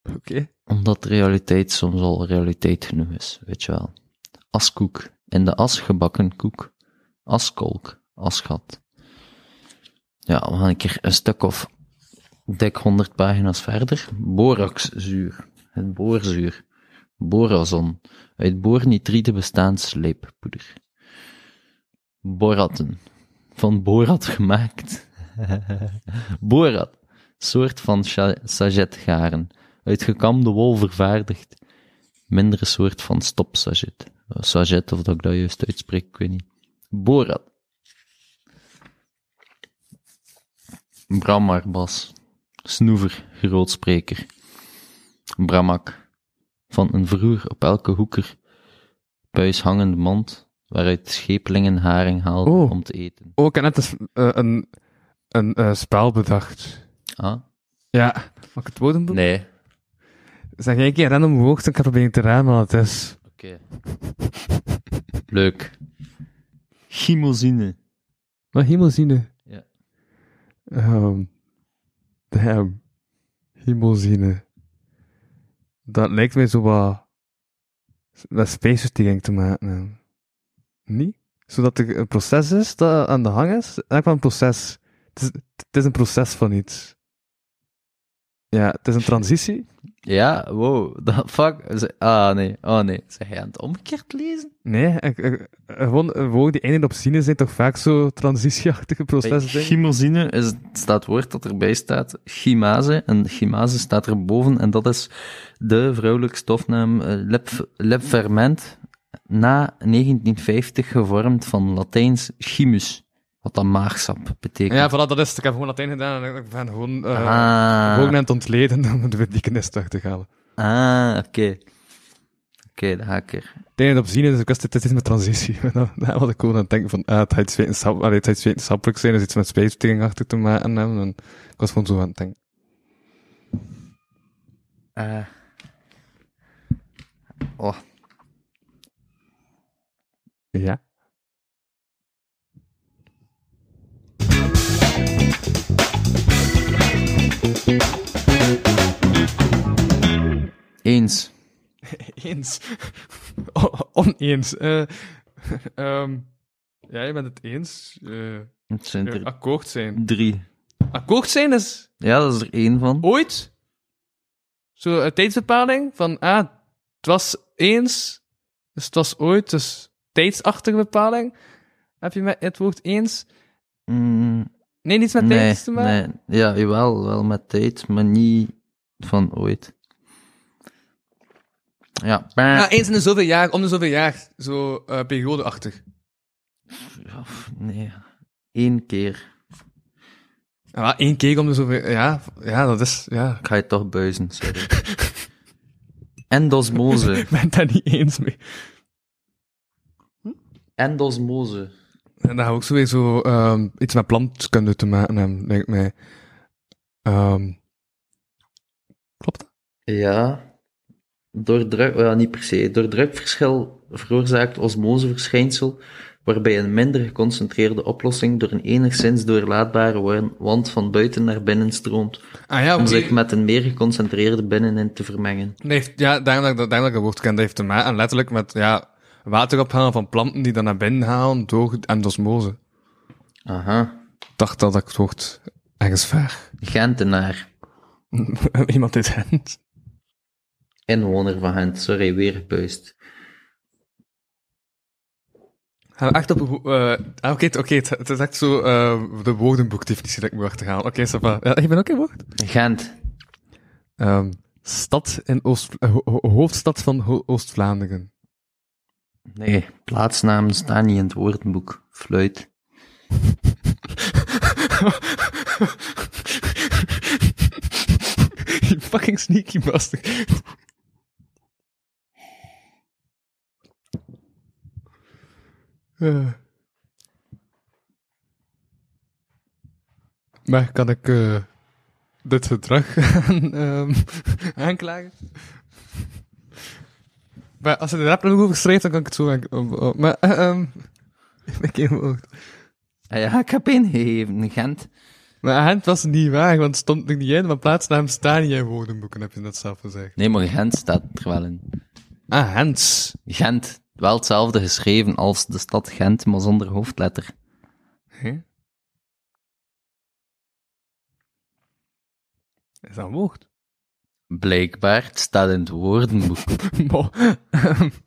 Speaker 3: Oké.
Speaker 2: Ja, omdat realiteit soms al realiteit genoeg is, weet je wel. Askoek, in de as gebakken koek. Askolk, asgat. Ja, we gaan een keer een stuk of dik 100 pagina's verder. Boraxzuur, het boorzuur. Borazon, uit boornitride bestaand sleeppoeder. Boratten, van borat gemaakt. borat, soort van cha- sajetgaren, uit gekamde wol vervaardigd. Mindere soort van stopsajet. Eh, Sajet, of dat ik dat juist uitspreek, ik weet niet. Borat. Bramarbas. Snoever, grootspreker. Bramak. Van een vroer op elke hoeker. Puis hangende mand, waaruit schepelingen haring haalden
Speaker 3: Oh.
Speaker 2: om te eten.
Speaker 3: Oh, ik heb net eens, eh, een, een eh, spel bedacht.
Speaker 2: Ah?
Speaker 3: Ja. Mag ik het woorden doen?
Speaker 2: Nee.
Speaker 3: Zeg jij een keer random woord, dan kan ik proberen te raden wat het is.
Speaker 2: Oké. (laughs) Leuk. Chimozine.
Speaker 3: Maar hemozine.
Speaker 2: Ja.
Speaker 3: Ehm, damn. Hemozine. Dat lijkt mij zo wat... Met spijsvertering te maken. hebben. Niet? Zodat er een proces is dat aan de hang is. Eigenlijk wel een proces. Het is, het is een proces van iets. Ja, het is een transitie.
Speaker 2: Ja, wow, dat fuck. Ze- Ah nee, oh nee. Zeg jij aan het omgekeerd lezen?
Speaker 3: Nee, ik, ik- gewoon een woord die eindigt op zine zijn toch vaak zo transitieachtige
Speaker 2: Bij
Speaker 3: procesdingen.
Speaker 2: chimozine is het, staat het woord dat erbij staat, chimase. En chimase staat erboven en dat is de vrouwelijke stofnaam eh, lep, lepferment na 1950 gevormd van Latijns chimus, wat dan maagsap betekent.
Speaker 3: Ja, voilà, dat is het. Ik heb gewoon Latijn gedaan en ik ben gewoon... eh,
Speaker 2: ah,
Speaker 3: Gewoon aan het ontleden (laughs) om de betekenis terug te halen.
Speaker 2: ah oké. Oké, de haker.
Speaker 3: Het enige dat op zien is, ik was dit dit is mijn transitie. (laughs) En dan, dan had ik gewoon aan het denken van, ah, het gaat iets wetenschappelijk, allee, het gaat iets wetenschappelijk zijn, dus iets met spijsvertering achter te maken. hebben. En ik was gewoon zo aan het denken.
Speaker 2: Eh. oh,
Speaker 3: Ja.
Speaker 2: eens.
Speaker 3: Eens. (laughs) O- oneens. Eh, (laughs) ehm, ja, je bent het eens. Eh,
Speaker 2: Het zijn er Mm.
Speaker 3: akkoord zijn.
Speaker 2: drie.
Speaker 3: Akkoord zijn is...
Speaker 2: Ja, dat is er één van.
Speaker 3: ooit zo'n tijdsbepaling van, ah, het was eens, dus het was ooit, dus tijdsachtige bepaling. Heb je met het woord eens?
Speaker 2: Mm,
Speaker 3: Nee, niets Oh. met
Speaker 2: nee,
Speaker 3: tijds te maken?
Speaker 2: nee. Ja, jawel, wel met tijd, maar niet van ooit. Ja,
Speaker 3: Ah, eens in de zoveel jaar, om de zoveel jaar, zo eh, periodeachtig.
Speaker 2: Of, nee, één keer.
Speaker 3: Ja, één keer om de zoveel, ja, ja, dat is, ja.
Speaker 2: Ik ga je toch
Speaker 3: (laughs)
Speaker 2: buizen, sorry. Endosmose.
Speaker 3: Ik ben het daar niet eens mee.
Speaker 2: Endosmose.
Speaker 3: En dan gaan we ook zo weer zo ehm, iets met plantkunde te maken hebben, denk ik mij. Ehm, klopt dat?
Speaker 2: Ja. Door druk, ja, niet per se. Door drukverschil veroorzaakt osmoseverschijnsel, waarbij een minder geconcentreerde oplossing door een enigszins doorlaatbare wa- wand van buiten naar binnen stroomt,
Speaker 3: Ah ja,
Speaker 2: om
Speaker 3: oké.
Speaker 2: zich met een meer geconcentreerde binnenin te vermengen.
Speaker 3: Nee, heeft- ja, daarom dat, ik dat- daarom dat ik dat woord ken, dat heeft te maken letterlijk met ja, water ophalen van planten die dan naar binnen halen door en osmose.
Speaker 2: Aha.
Speaker 3: Ik dacht dat ik het woord Ergens ver. (laughs)
Speaker 2: Gentenaar.
Speaker 3: Iemand uit Gent.
Speaker 2: Inwoner van Gent. Sorry, weer puist.
Speaker 3: Gaan we echt op een go- eh, ah, Oké, het- oké, het, het is echt zo eh, de woordenboekdefinitie dat ik moet achterhalen. Oké, ça va. Ja, je bent ook in woord?
Speaker 2: Gent.
Speaker 3: Ehm, stad in Oost... eh, ho- ho- hoofdstad van Ho- Oost-Vlaanderen.
Speaker 2: Nee, plaatsnamen staan niet in het woordenboek. Fluit.
Speaker 3: (laughs) Je fucking sneaky bastard. Eh. Maar kan ik eh, dit gedrag (laughs) aan, ehm, aanklagen? Maar als ze er rap nog over schrijft, dan kan ik het zo aan... op- op- Maar, eh, (laughs) ehm, ik heb ook...
Speaker 2: Ah ja, ik heb ingegeven. Gent.
Speaker 3: Maar Gent was niet waar, want het stond er niet in, maar plaatsnaam staan niet in woordenboeken, heb je net zelf gezegd.
Speaker 2: Nee, maar Gent staat er wel in.
Speaker 3: Ah, Hens.
Speaker 2: Gent. Wel hetzelfde geschreven als de stad Gent, maar zonder hoofdletter.
Speaker 3: Is dat een (laughs) woord?
Speaker 2: Blijkbaar, het staat in het woordenboek.
Speaker 3: Bo.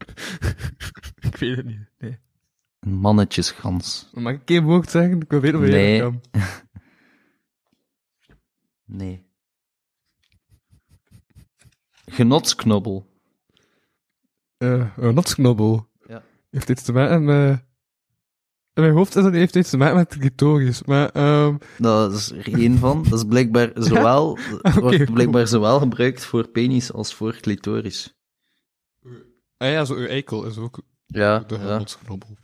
Speaker 3: (laughs) ik weet het niet. Nee.
Speaker 2: Een mannetjesgans.
Speaker 3: Mag ik geen woord zeggen? Ik wil weten of je
Speaker 2: Nee.
Speaker 3: dat kan.
Speaker 2: Nee. Genotsknobbel.
Speaker 3: Eh, een notsknobbel.
Speaker 2: Ja.
Speaker 3: Heeft iets te maken met... In mijn hoofd is dat heeft iets te maken met territorisch, maar... ehm
Speaker 2: Dat is er één van. Dat is (laughs) blijkbaar zowel, wordt
Speaker 3: goed.
Speaker 2: blijkbaar zowel gebruikt voor penis als voor clitoris.
Speaker 3: ah ja, zo, uw eikel is ook
Speaker 2: Ja,
Speaker 3: de
Speaker 2: ja.
Speaker 3: notsknobbel.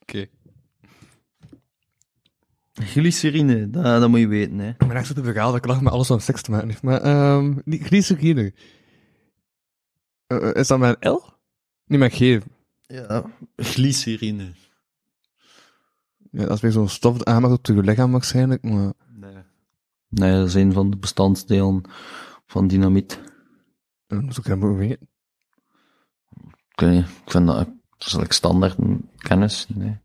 Speaker 3: Oké.
Speaker 2: Glycerine, dat, dat moet je weten, hè.
Speaker 3: Ik ben echt zo te begaald dat ik lach met alles wat seks te maken heeft. Maar ehm niet glycerine. Eh eh, is dat met een L? Niet met G.
Speaker 2: Ja. Glycerine.
Speaker 3: Ja, dat is weer zo'n stof dat aanmaakt op je lichaam waarschijnlijk. Maar...
Speaker 2: Nee. Nee, dat is een van de bestanddelen van dynamiet.
Speaker 3: Dat moet eh, ik helemaal niet weten.
Speaker 2: Ik, weet niet, ik vind dat, dat is like standaard kennis. Nee.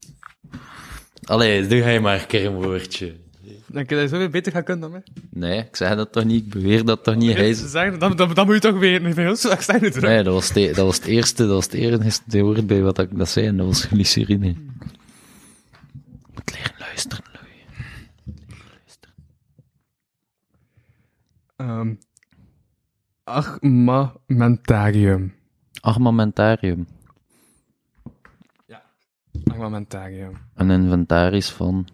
Speaker 2: Allee, doe jij maar een keer een woordje.
Speaker 3: Denk je dat je zo weer beter gaat kunnen dan mij?
Speaker 2: Nee, ik zeg dat toch niet. Ik beweer dat toch niet. Hij is-
Speaker 3: Zeg, dat, dat, dat moet je toch weten. Ik ben heel slecht zijn het
Speaker 2: Nee, dat was, de, dat was het eerste, dat was het eerste woord bij wat ik dat zei, en dat was glycerine. Je moet leren luisteren, Louis.
Speaker 3: Ehm Achmamentarium.
Speaker 2: Armamentarium.
Speaker 3: Achmamentarium.
Speaker 2: Een inventaris van...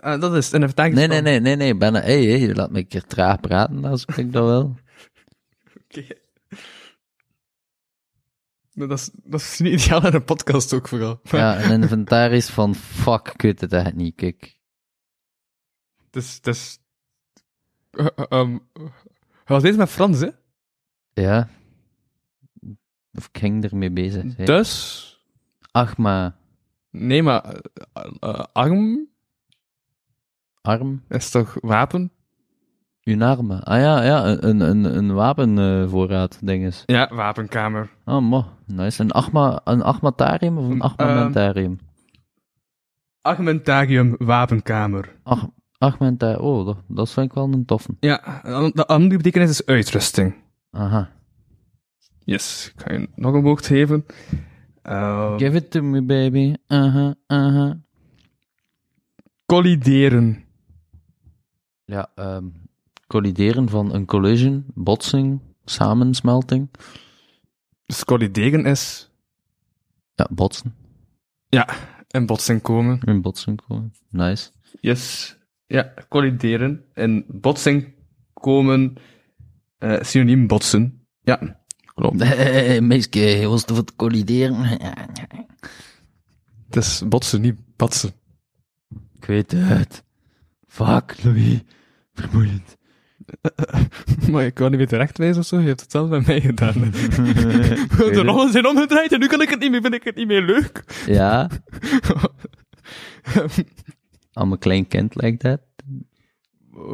Speaker 3: Eh, dat is het, een vertaling.
Speaker 2: Nee, nee, nee, nee, nee, bijna. Hé, hey, hey, laat me een keer traag praten, als ik dat wel.
Speaker 3: Dat is, dat is niet ideaal aan een podcast ook vooral.
Speaker 2: Ja, een inventaris van... Fuck, ik weet het echt niet, kijk.
Speaker 3: Het is... Het is... Eh, eh, ehm, hij was bezig met Frans, hè?
Speaker 2: Ja. Of ik ging ermee bezig zijn.
Speaker 3: Dus...
Speaker 2: Achma,
Speaker 3: Nee, maar... eh, eh, arm
Speaker 2: arm,
Speaker 3: is toch wapen?
Speaker 2: unarme. Ah ja, ja, een, een, een wapenvoorraad, dinges.
Speaker 3: Ja, wapenkamer.
Speaker 2: Oh, mo, nice. Een, achma, een achmatarium of een
Speaker 3: Een,
Speaker 2: achmamentarium?
Speaker 3: Argumentarium, wapenkamer.
Speaker 2: Ach, achmenta- oh, dat, dat vind ik wel een toffe.
Speaker 3: Ja, en dan- de andere betekenis is uitrusting.
Speaker 2: Aha.
Speaker 3: Yes, ik ga je nog een woord geven. Eh,
Speaker 2: Give it to me, baby. Aha, aha.
Speaker 3: collideren.
Speaker 2: Ja, ehm, collideren van een collision, botsing, samensmelting.
Speaker 3: Dus collideren is...
Speaker 2: Ja, botsen.
Speaker 3: Ja, in botsing komen.
Speaker 2: In botsing komen. Nice.
Speaker 3: Yes. Ja, collideren. En botsing komen. eh, synoniem botsen. Ja, klopt.
Speaker 2: Hey, meisje, je was Eh, te wat collideren.
Speaker 3: Het is botsen, (laughs) niet batsen.
Speaker 2: Ik weet het. Fuck, Louis. Vermoeiend.
Speaker 3: maar ik kan niet meer terechtwijzen of zo. Je hebt het zelf bij mij (laughs) gedaan. de
Speaker 2: het.
Speaker 3: rollen zijn omgedraaid en nu kan ik het niet meer. Vind ik het niet meer leuk.
Speaker 2: (laughs) Ja, aan mijn klein kind like that.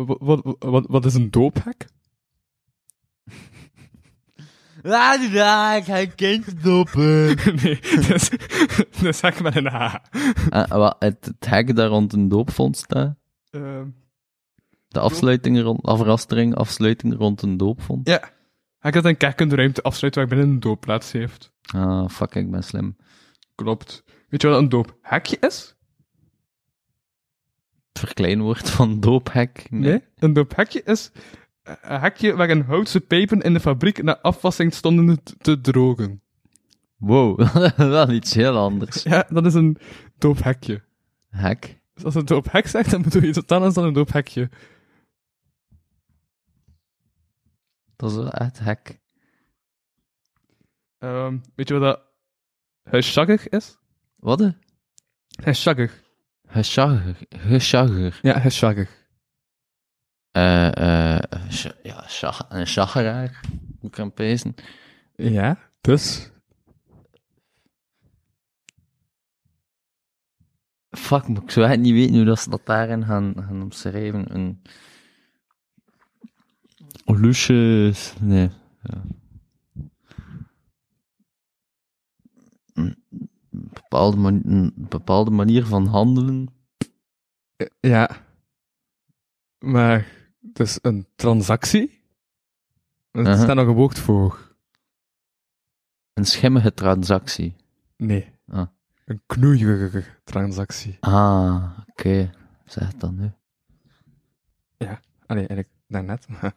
Speaker 3: wat, wat, wat, wat is een doophek?
Speaker 2: Ah, ja, ik ga een kindje dopen.
Speaker 3: (laughs) nee, dus, dus zeg maar een H.
Speaker 2: Ah, wat, het, het hek daar rond een doopvond staat?
Speaker 3: Ehm,
Speaker 2: De afsluiting rond, afrastering, afsluiting rond een doopvond?
Speaker 3: ja. Hij kan een kerk in de ruimte afsluiten waar binnen een doopplaats heeft.
Speaker 2: Ah, fuck, ik ben slim.
Speaker 3: Klopt. Weet je wat een doophekje is?
Speaker 2: Het verkleinwoord van doophek.
Speaker 3: Een doophekje is eh, een hekje waarin houtse pepen in de fabriek na afwassing stonden te- te drogen.
Speaker 2: Wow, (laughs) wel iets heel anders.
Speaker 3: Ja, dat is een doophekje.
Speaker 2: Hek.
Speaker 3: Dus als een doophek zegt, dan bedoel je iets anders dan een doophekje.
Speaker 2: Dat is wel echt hek.
Speaker 3: Ehm, weet je wat dat huisjaggig is?
Speaker 2: Wat? hè?
Speaker 3: Huisjaggig.
Speaker 2: Hushagger. Hushagger.
Speaker 3: Ja, huisjaggig.
Speaker 2: Eh, eh, sh- ja, shag- een shaggeraar. Hoe kan ik pezen?
Speaker 3: Ja, dus...
Speaker 2: Fuck, maar ik zou echt niet weten hoe dat ze dat daarin gaan, gaan omschrijven. Een... Lusjes. Nee. ja. Een bepaalde, man- een bepaalde manier van handelen.
Speaker 3: Ja. Maar het is een transactie. Er
Speaker 2: Uh-huh.
Speaker 3: staat nog een woord voor.
Speaker 2: Een schimmige transactie.
Speaker 3: Nee.
Speaker 2: Ah.
Speaker 3: Een knoeierige transactie.
Speaker 2: Ah, oké. Zeg het dan nu.
Speaker 3: Allee, Ah, eigenlijk daarnet. maar-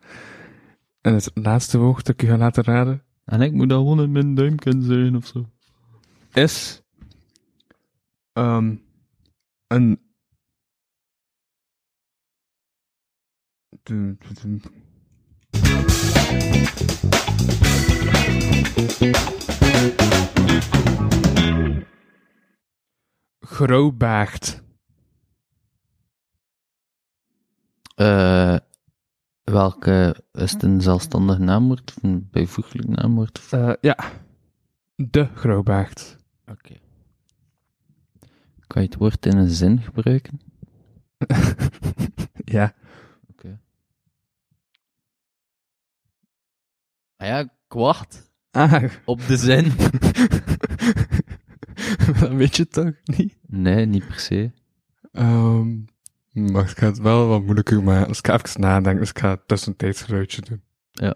Speaker 3: En het laatste woord dat ik je ga laten raden
Speaker 2: En ik moet dat gewoon in mijn duimken zijn of zo.
Speaker 3: is... ehm, een... Dum, dum, dum. Grauwbaard.
Speaker 2: Eh, welke is het een zelfstandig naamwoord of een bijvoeglijk naamwoord? Of-
Speaker 3: Eh, ja. De grauwbaard.
Speaker 2: Kan je het woord in een zin gebruiken?
Speaker 3: (laughs) ja.
Speaker 2: Ah ja, kwart.
Speaker 3: Ah. (laughs)
Speaker 2: Op de zin.
Speaker 3: Dat weet je toch niet?
Speaker 2: Nee, niet per se.
Speaker 3: Ehm maar ik ga het wel wat moeilijker maken. Dus ik ga even nadenken. Dus ik ga het tussentijds geluidje doen.
Speaker 2: Ja.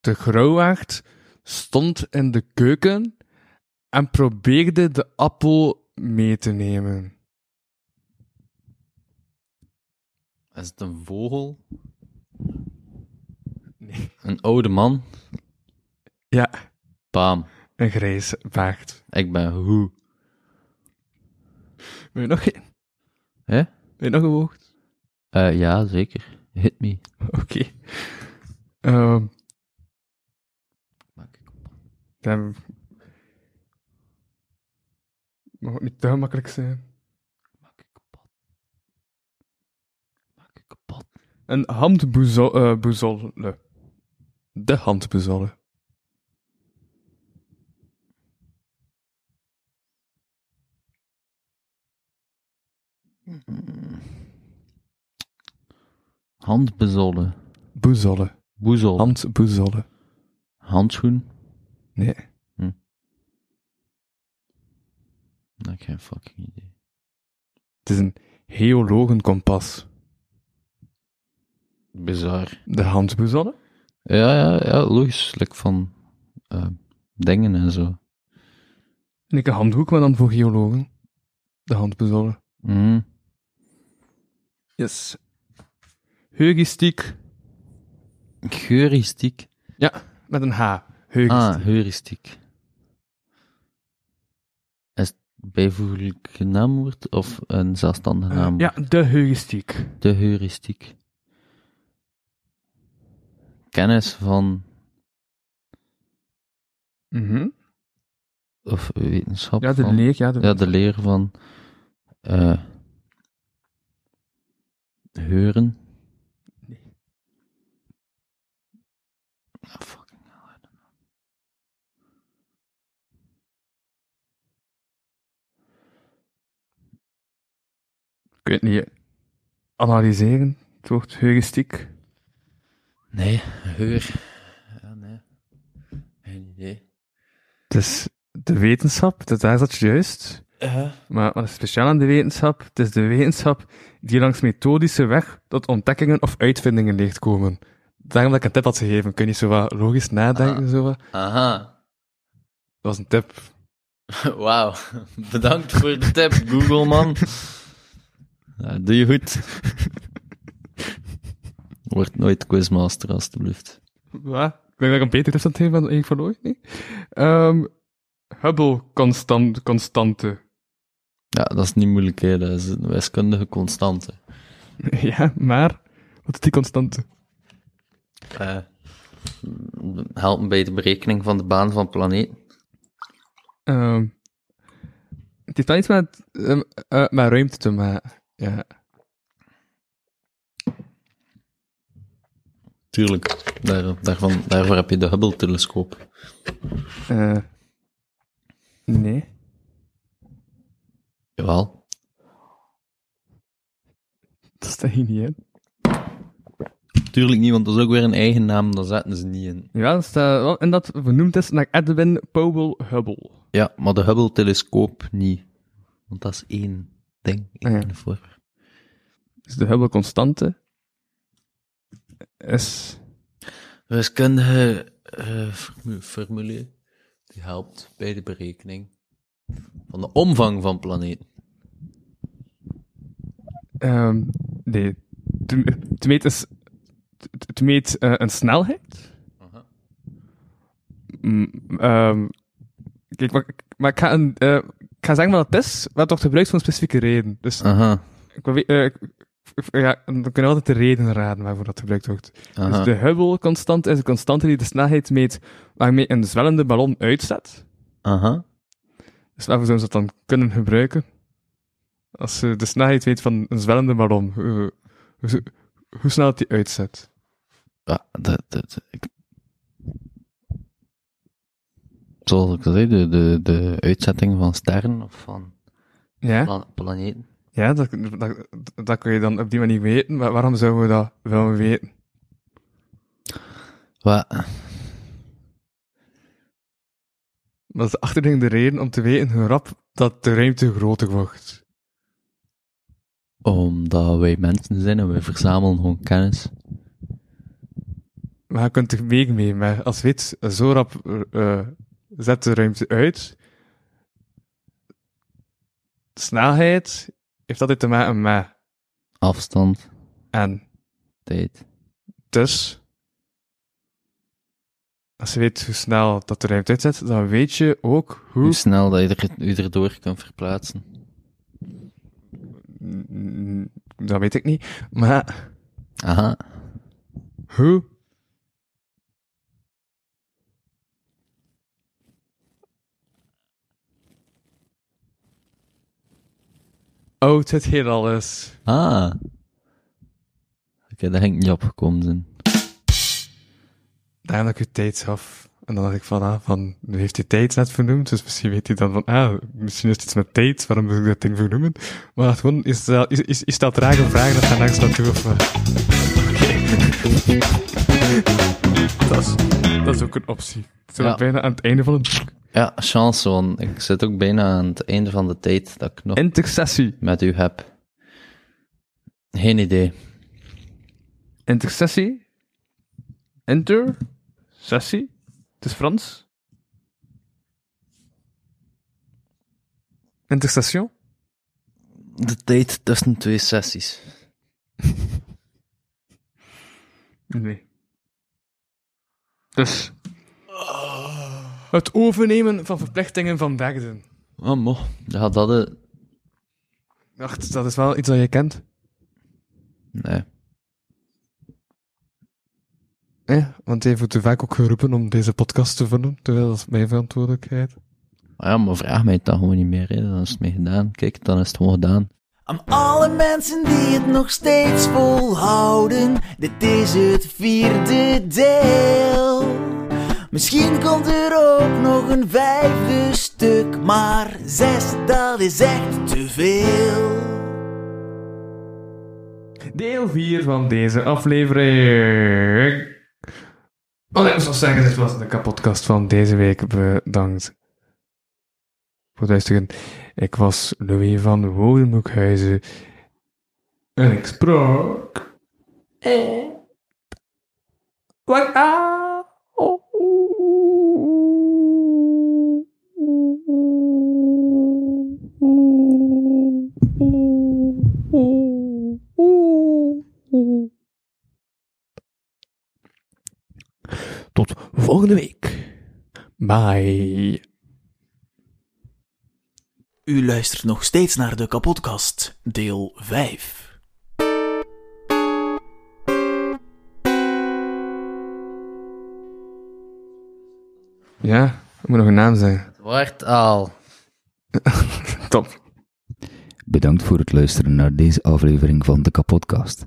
Speaker 3: De grauwaard stond in de keuken en probeerde de appel mee te nemen.
Speaker 2: Is het een vogel?
Speaker 3: Nee.
Speaker 2: Een oude man?
Speaker 3: Ja,
Speaker 2: Bam.
Speaker 3: een grijze baard.
Speaker 2: Ik ben hoe.
Speaker 3: Wil je nog geen?
Speaker 2: Hè?
Speaker 3: Wil je nog een woord?
Speaker 2: Eh, ja, zeker. Hit me.
Speaker 3: Oké. Ehm,
Speaker 2: Maak ik op.
Speaker 3: dan... Mag het niet te makkelijk zijn.
Speaker 2: Maak ik kapot. Maak ik kapot.
Speaker 3: Een handboezolle. De handboezolle.
Speaker 2: Handbezolle.
Speaker 3: Boezolle.
Speaker 2: Boezel.
Speaker 3: Handboezolle.
Speaker 2: Handschoen.
Speaker 3: Nee.
Speaker 2: Nee, Ik heb geen fucking idee.
Speaker 3: Het is een geologenkompas.
Speaker 2: Bizar.
Speaker 3: De handboezolle?
Speaker 2: Ja, ja, ja, logisch. Like van eh, dingen en zo.
Speaker 3: En ik een handhoek, maar dan voor geologen. De handboezolle.
Speaker 2: Mhm.
Speaker 3: Yes. Heugistiek.
Speaker 2: Heuristiek.
Speaker 3: Ja, met een H. Heugistiek.
Speaker 2: Ah, heuristiek. Is het bijvoeglijk naamwoord of een zelfstandig
Speaker 3: Eh,
Speaker 2: naamwoord?
Speaker 3: ja, de heugistiek.
Speaker 2: De heuristiek. Kennis van, of wetenschap
Speaker 3: Mhm. Ja, de
Speaker 2: van...
Speaker 3: leek, ja. De...
Speaker 2: Ja, de leer van eh heuren.
Speaker 3: Nee.
Speaker 2: Ah, fucking hell, I don't know.
Speaker 3: Ik weet niet. Analyseren. Het woord heuristiek.
Speaker 2: Nee, heur. Ja, nee. Geen idee.
Speaker 3: Het is de wetenschap, dat daar zat je juist. Maar wat is speciaal aan de wetenschap? Het is de wetenschap die langs methodische weg tot ontdekkingen of uitvindingen leert komen. Daarom dat ik een tip had gegeven. Kun je zo wat logisch nadenken? Zo wat.
Speaker 2: Aha. (laughs)
Speaker 3: Dat was een tip.
Speaker 2: Wauw. (laughs) Bedankt voor de tip, Google, man. Ja, doe je goed. Word nooit quizmaster, alstublieft.
Speaker 3: Wat? Ik denk dat ik een betere tip aan het geven ben dan ik van ooit. Nee? Ehm, Hubble constant, constante. (laughs)
Speaker 2: Ja, dat is niet moeilijk, hè. Dat is een wiskundige constante.
Speaker 3: ja, maar wat is die constante?
Speaker 2: Eh, helpen bij de berekening van de baan van planeten.
Speaker 3: Ehm, het heeft wel iets met, ehm, eh, met ruimte te maken. Ja.
Speaker 2: Tuurlijk. Daar, daarvan, daarvoor heb je de Hubble-telescoop.
Speaker 3: Eh, nee.
Speaker 2: Jawel.
Speaker 3: Dat staat hier niet in.
Speaker 2: Tuurlijk niet, want dat is ook weer een eigen naam, daar zetten ze niet in.
Speaker 3: Ja, dat staat wel. En dat vernoemd is naar Edwin Powell Hubble.
Speaker 2: Ja, maar de Hubble-telescoop niet. Want dat is één ding, één
Speaker 3: Ah, ja.
Speaker 2: voorwerp.
Speaker 3: Dus de Hubble constante is...
Speaker 2: Wiskundige eh, formu- formule, die helpt bij de berekening van de omvang van planeten.
Speaker 3: ehm, nee. Het- Het meet, is, het- het meet eh, een snelheid.
Speaker 2: Aha.
Speaker 3: Mm, ehm, kijk, maar, maar ik, ga een, eh, ik ga zeggen wat het is, maar toch gebruikt voor een specifieke reden. Dus
Speaker 2: Aha,
Speaker 3: ik, wil we- eh, ik- ik- ja, dan kunnen we altijd de reden raden waarvoor dat gebruikt wordt.
Speaker 2: aha.
Speaker 3: Dus de Hubble-constante is de constante die de snelheid meet waarmee een zwellende ballon uitzet.
Speaker 2: aha.
Speaker 3: Dus waarvoor zouden ze dat dan kunnen gebruiken? Als ze de snelheid weet van een zwellende ballon, hoe, hoe, hoe- hoe snel het die uitzet.
Speaker 2: Ja, dat, dat, ik... Zoals ik al zei, de, de, de uitzetting van sterren of van
Speaker 3: Ja,
Speaker 2: pla- planeten.
Speaker 3: ja dat, dat, dat kun je dan op die manier weten, maar waarom zouden we dat wel weten?
Speaker 2: Wat?
Speaker 3: Dat is de achterliggende reden om te weten hoe rap dat de ruimte groter wordt.
Speaker 2: Omdat wij mensen zijn en wij verzamelen gewoon kennis.
Speaker 3: Maar je kunt er mee mee, maar als je weet, zo rap eh, eh, zet de ruimte uit. Snelheid heeft altijd te maken met
Speaker 2: Afstand,
Speaker 3: en.
Speaker 2: tijd.
Speaker 3: Dus, als je weet hoe snel dat de ruimte uitzet, dan weet je ook
Speaker 2: Hoe
Speaker 3: hoe...
Speaker 2: snel dat je er, je erdoor kunt verplaatsen.
Speaker 3: Mm, Dat weet ik niet. Maar
Speaker 2: Aha.
Speaker 3: hoe... Oud Oh, het hier al is.
Speaker 2: Ah. Oké, daar ging ik niet op gekomen zijn.
Speaker 3: Daarom dat ik u tijd gaf. En dan dacht ik van, ah, van, nu heeft hij tijd net vernoemd, dus misschien weet hij dan van, ah, misschien is het iets met tijd, waarom moet ik dat ding vernoemen? Maar gewoon, is dat, is, is, is dat rare vraag dat gaan langs naartoe of eh? wat? (laughs) dat, is, dat is ook een optie. Zo
Speaker 2: Ja.
Speaker 3: bijna aan het einde van het
Speaker 2: Ja, chance, want ik zit ook bijna aan het einde van de tijd dat ik nog
Speaker 3: Intercessie.
Speaker 2: met u heb. Geen idee.
Speaker 3: Intercessie. Enter. Sessie. Het is Frans. Interstation.
Speaker 2: De tijd tussen twee sessies.
Speaker 3: Nee. Dus. Het overnemen van verplichtingen van derden.
Speaker 2: Oh, mo. Ja, dat... eh,
Speaker 3: Ach, dat is wel iets dat je kent.
Speaker 2: Nee.
Speaker 3: Eh, want jij wordt te vaak ook geroepen om deze podcast te vullen, terwijl dat is mijn verantwoordelijkheid.
Speaker 2: Maar ja, maar vraag mij het dan gewoon niet meer. Hè. Dan is het mee gedaan. Kijk, dan is het gewoon gedaan.
Speaker 7: Aan alle mensen die het nog steeds volhouden, dit is het vierde deel. Misschien komt er ook nog een vijfde stuk, maar zes, dat is echt te veel.
Speaker 3: deel 4 van deze aflevering. Wat ik nog zeggen, dit was de kapotkast van deze week. Bedankt voor het luisteren. Ik was Louis van Wodenboekhuizen. En ik sprak... Eh, Wat ah. Tot volgende week. Bye.
Speaker 8: U luistert nog steeds naar de kapotkast, deel 5.
Speaker 3: Ja, ik moet nog een naam zeggen.
Speaker 2: Wordt al.
Speaker 3: Top.
Speaker 9: Bedankt voor het luisteren naar deze aflevering van de Kapodcast.